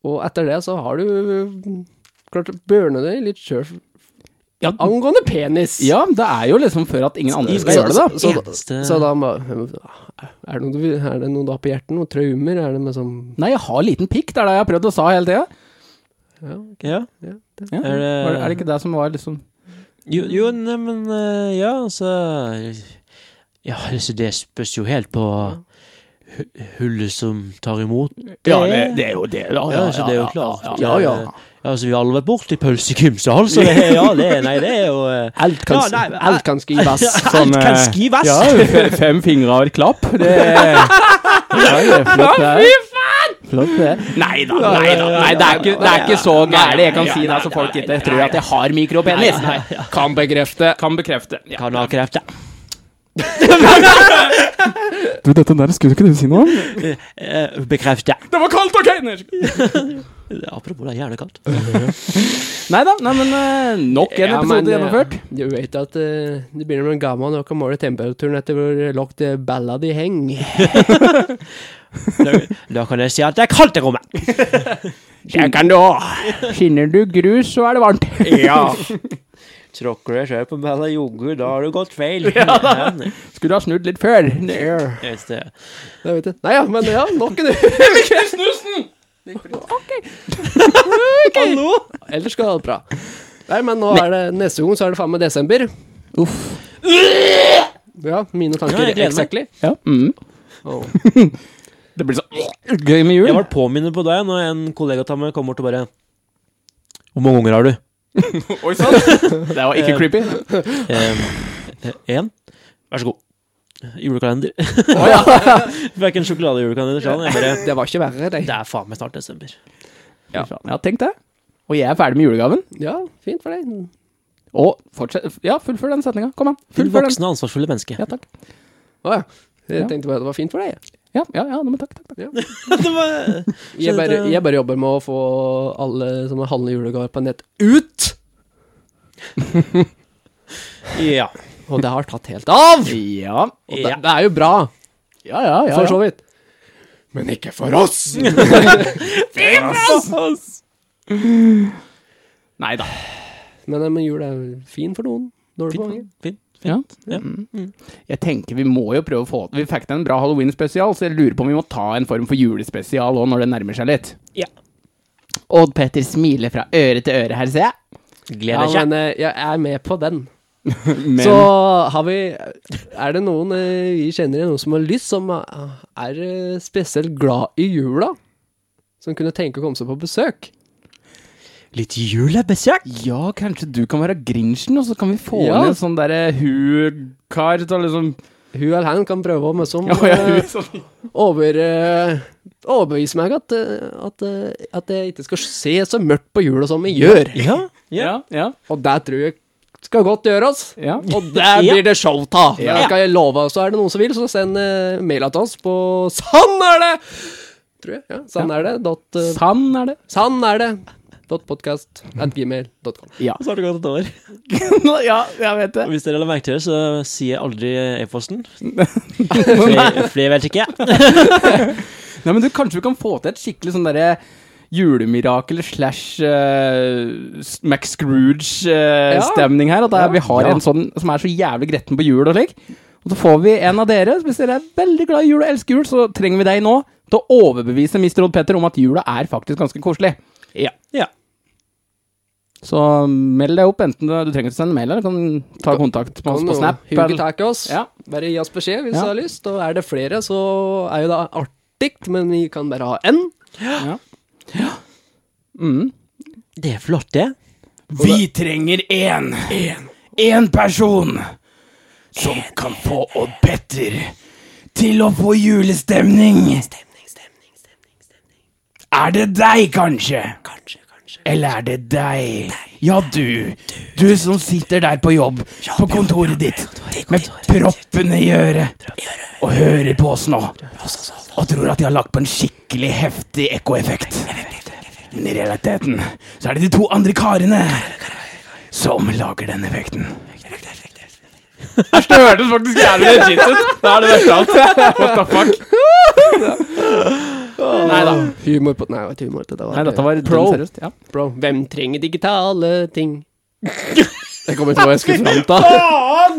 Speaker 1: Og etter det så har du eh, klart å børne det litt sjøl
Speaker 2: Ja.
Speaker 1: angående penis.
Speaker 2: ja, det er jo liksom før at ingen andre skal gjøre det, da.
Speaker 1: Så, så,
Speaker 3: Eneste-
Speaker 1: så da må- er det, noe, du vil- er det noe da på hjertet? Noen traumer? Er det med sånn
Speaker 2: Nei, jeg har liten pikk, det er det jeg har prøvd å sa hele tida.
Speaker 1: ja,
Speaker 3: Ja.
Speaker 1: ja, det.
Speaker 2: Ja.
Speaker 3: Er det-
Speaker 2: Var det- Er det ikke det som var liksom
Speaker 3: Jo, jo nei, men eh, Ja, altså Ja, altså, det spørs jo helt på hu- hullet som tar imot.
Speaker 2: er jo det.
Speaker 3: Ja, altså, det er jo klart.
Speaker 2: Ja, ja.
Speaker 3: Eh, altså, vi har alle vært borti pølsekimsal, så det, altså. <laughs> ja, det, er- nei, det er jo <laughs> eh,
Speaker 1: Alt kan,
Speaker 3: <laughs> Ja, nei,
Speaker 1: alt kan skrives.
Speaker 2: Sånn,
Speaker 3: Alt kan
Speaker 2: eh,
Speaker 3: skrives!
Speaker 2: <laughs> Ja, fe- fem fingre og et klapp. Det er, ja, det er flott, det er. Fy faen! sant? det? Nei da, nei da. Nei, det, er ikke, det er ikke så gærent. Jeg kan si det så folk ikke tror at jeg har mikropenis. Kan bekrefte. Kan bekrefte. Ja.
Speaker 3: Kan ha kreft, ja.
Speaker 2: Du, dette der skulle ikke du si noe om?
Speaker 3: Eh, Bekreft, ja.
Speaker 2: Det var kaldt, OK? Nei
Speaker 3: Apropos, det er gjerne kaldt.
Speaker 2: da, nei, men eh, nok en
Speaker 1: Ja, men,
Speaker 2: episode
Speaker 1: eh,
Speaker 2: gjennomført.
Speaker 1: Du vet at eh, du begynner med en gammel nok å måle temperaturen etter hvor lavt eh, balla de henger.
Speaker 3: Da, da kan jeg si at det er kaldt i rommet.
Speaker 2: Jeg kan du òg. Skinner du grus, så er det varmt.
Speaker 3: Tråkker jeg sjøl på meg eller jogger, da har du gått feil. <laughs> Men,
Speaker 2: Skulle ha snudd litt før.
Speaker 3: hvis det-
Speaker 1: Da vet jeg. Nei ja, men ja, nok en
Speaker 3: Hallo!
Speaker 1: Ellers skal alt bra. Nei, men nå er det neste gang så er det faen meg desember.
Speaker 2: Uff.
Speaker 1: Ja, mine
Speaker 3: Ja,
Speaker 1: tanker.
Speaker 3: jeg gleder meg.
Speaker 1: exactly.
Speaker 2: Ja. Mm.
Speaker 1: Åh.
Speaker 2: Det blir så gøy med jul.
Speaker 3: Jeg ble påminnet på deg når en kollega av meg kom bort og bare Hvor mange unger har du?
Speaker 2: <laughs>
Speaker 3: Eh,
Speaker 2: Oi
Speaker 3: <laughs>
Speaker 2: sann! Det var ikke creepy.
Speaker 3: Én. eh, Vær så god.
Speaker 2: <laughs>
Speaker 3: Julekalender.
Speaker 1: Å,
Speaker 3: <laughs>
Speaker 1: ja.
Speaker 3: Verken sjokoladejulekalender eller sånn. Jeg bare
Speaker 1: Det var ikke verre, det.
Speaker 3: Det er faen meg snart desember.
Speaker 2: Ja. ja, tenk det. Og jeg er ferdig med julegaven.
Speaker 1: Ja, fint for deg.
Speaker 2: Og fortsett Ja, fullfør den setninga. Kom an.
Speaker 3: Til
Speaker 2: Fullfør den.
Speaker 3: voksne, ansvarsfulle mennesker.
Speaker 2: Ja, takk.
Speaker 1: Å ja. Jeg
Speaker 2: Ja.
Speaker 1: tenkte bare det var fint for deg.
Speaker 2: Ja, ja, ja, men takk, takk, takk.
Speaker 3: <laughs> det var
Speaker 1: Jeg bare, jeg bare jobber med å få alle som handler julegaver på nett, ut!
Speaker 3: Ja.
Speaker 1: Og det har tatt helt av!
Speaker 2: Ja.
Speaker 1: Og det,
Speaker 3: Ja.
Speaker 1: det er jo bra,
Speaker 2: Ja, ja, ja.
Speaker 1: for så
Speaker 2: ja.
Speaker 1: vidt. Men ikke for oss!
Speaker 2: Nei da.
Speaker 1: Men, eh, men jul er fin for noen. Dårlig for mange.
Speaker 3: Fint. fint.
Speaker 2: Ja.
Speaker 3: Ja.
Speaker 2: Mm. Jeg tenker vi må jo prøve å få Vi fikk til en bra halloween-spesial, så jeg lurer på om vi må ta en form for julespesial òg, når det nærmer seg litt.
Speaker 3: Ja.
Speaker 2: Odd Petter smiler fra øre til øre her, ser jeg.
Speaker 1: Ja,
Speaker 3: Gleder seg.
Speaker 1: men eh, jeg er med på den.
Speaker 2: Men
Speaker 1: Så har vi Er det noen eh, vi kjenner igjen, noen som har lyst, som eh, er eh, spesielt glad i jula? Som kunne tenke å komme seg på besøk?
Speaker 3: Litt julebesøk.
Speaker 2: Ja, kanskje du kan være Grinchen, og så kan vi få
Speaker 1: Ja.
Speaker 2: inn en sånn derre hu-kar til å liksom
Speaker 1: Hun eller han kan prøve å <laughs> møse om
Speaker 2: Ja, ja,
Speaker 1: eh,
Speaker 2: hu, sånn.
Speaker 1: over, eh, overbevise meg at, eh, at, eh, at jeg ikke skal se så mørkt på jula som jeg gjør.
Speaker 3: Ja.
Speaker 2: ja,
Speaker 3: ja.
Speaker 2: ja,
Speaker 1: Og det tror jeg skal godt gjøres.
Speaker 2: ja.
Speaker 1: Og der
Speaker 3: Ja.
Speaker 1: blir det show ta. Det
Speaker 2: Ja.
Speaker 1: skal jeg love. Så er det noen som vil, så send eh, mail til oss på Sann er det! Tror jeg. Ja, sann er det. Dot, eh,
Speaker 2: Sann er <laughs> det.
Speaker 1: sann er det. Dot podcast at gmail.com.
Speaker 2: Ja.
Speaker 3: Så har det gått et år.
Speaker 2: ja, jeg vet det.
Speaker 3: Og hvis dere la merke til det, så sier jeg aldri
Speaker 1: <laughs>
Speaker 3: e-posten. Flere, flere vet ikke.
Speaker 2: Nei, men du, Kanskje vi kan få til et skikkelig sånn derre julemirakel slash eh, s- Max
Speaker 1: Ja.
Speaker 2: Scrooge-stemning her. At det er- vi har
Speaker 1: Ja.
Speaker 2: en sånn som er så jævlig gretten på jul og slik. Og så får vi en av dere, hvis dere er veldig glad i jul og elsker jul, så trenger vi deg nå til å overbevise Mr. Odd Petter om at jula er faktisk ganske koselig.
Speaker 3: Ja. ja.
Speaker 2: Så meld deg opp, enten du, du trenger ikke sende mail, eller du kan ta kontakt med oss på Snap.
Speaker 1: Huge
Speaker 2: eller-
Speaker 1: tak i oss.
Speaker 2: Ja.
Speaker 1: Bare gi oss beskjed hvis
Speaker 2: Ja.
Speaker 1: du har lyst. Og er det flere, så er jo det artig, men vi kan bare ha én.
Speaker 2: Mm.
Speaker 3: Det er flott, det.
Speaker 2: Vi trenger én. Én person som kan få Odd Petter til å få julestemning. Er det deg, kanskje? Eller er det deg? Ja, du. Du som sitter der på jobb, på kontoret ditt, med proppene i øret, og hører på oss altså. nå, og tror at de har lagt på en skikkelig heftig ekkoeffekt. Men i realiteten så er det de to andre karene som lager den effekten. Det hørtes faktisk jævlig legit ut. Det er det verste av alt. What the fuck? Nei da.
Speaker 1: Humor på Nei, det var ikke humor. Det var,
Speaker 2: pro.
Speaker 1: pro. Bro, hvem trenger digitale ting? <laughs> Jeg kommer til hva jeg skulle fram
Speaker 2: <laughs>
Speaker 1: til.
Speaker 3: Faen!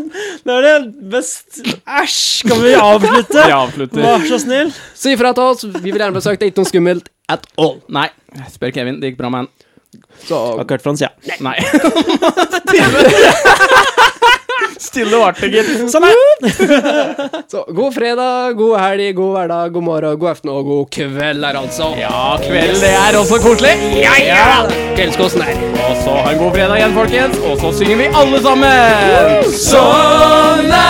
Speaker 3: Det er det best Æsj! Kan vi avslutte?
Speaker 2: Vi avslutter.
Speaker 3: Vær så snill.
Speaker 1: Si ifra til oss. Vi vil gjerne besøke deg. Ikke noe skummelt at all.
Speaker 2: Nei, spør Kevin. Det gikk bra med han.
Speaker 1: Så
Speaker 3: Akkurat Frans, ja.
Speaker 2: Nei. Stille og artig, gitt.
Speaker 3: Samme.
Speaker 1: Så god fredag, god helg, god hverdag, god morgen, god aften og god kveld her, altså.
Speaker 2: Ja, kveld, det er også koselig. Ja, ja.
Speaker 1: Kveldskosten her.
Speaker 2: Og så ha en god fredag igjen, folkens. Og så synger vi alle sammen. Sånn er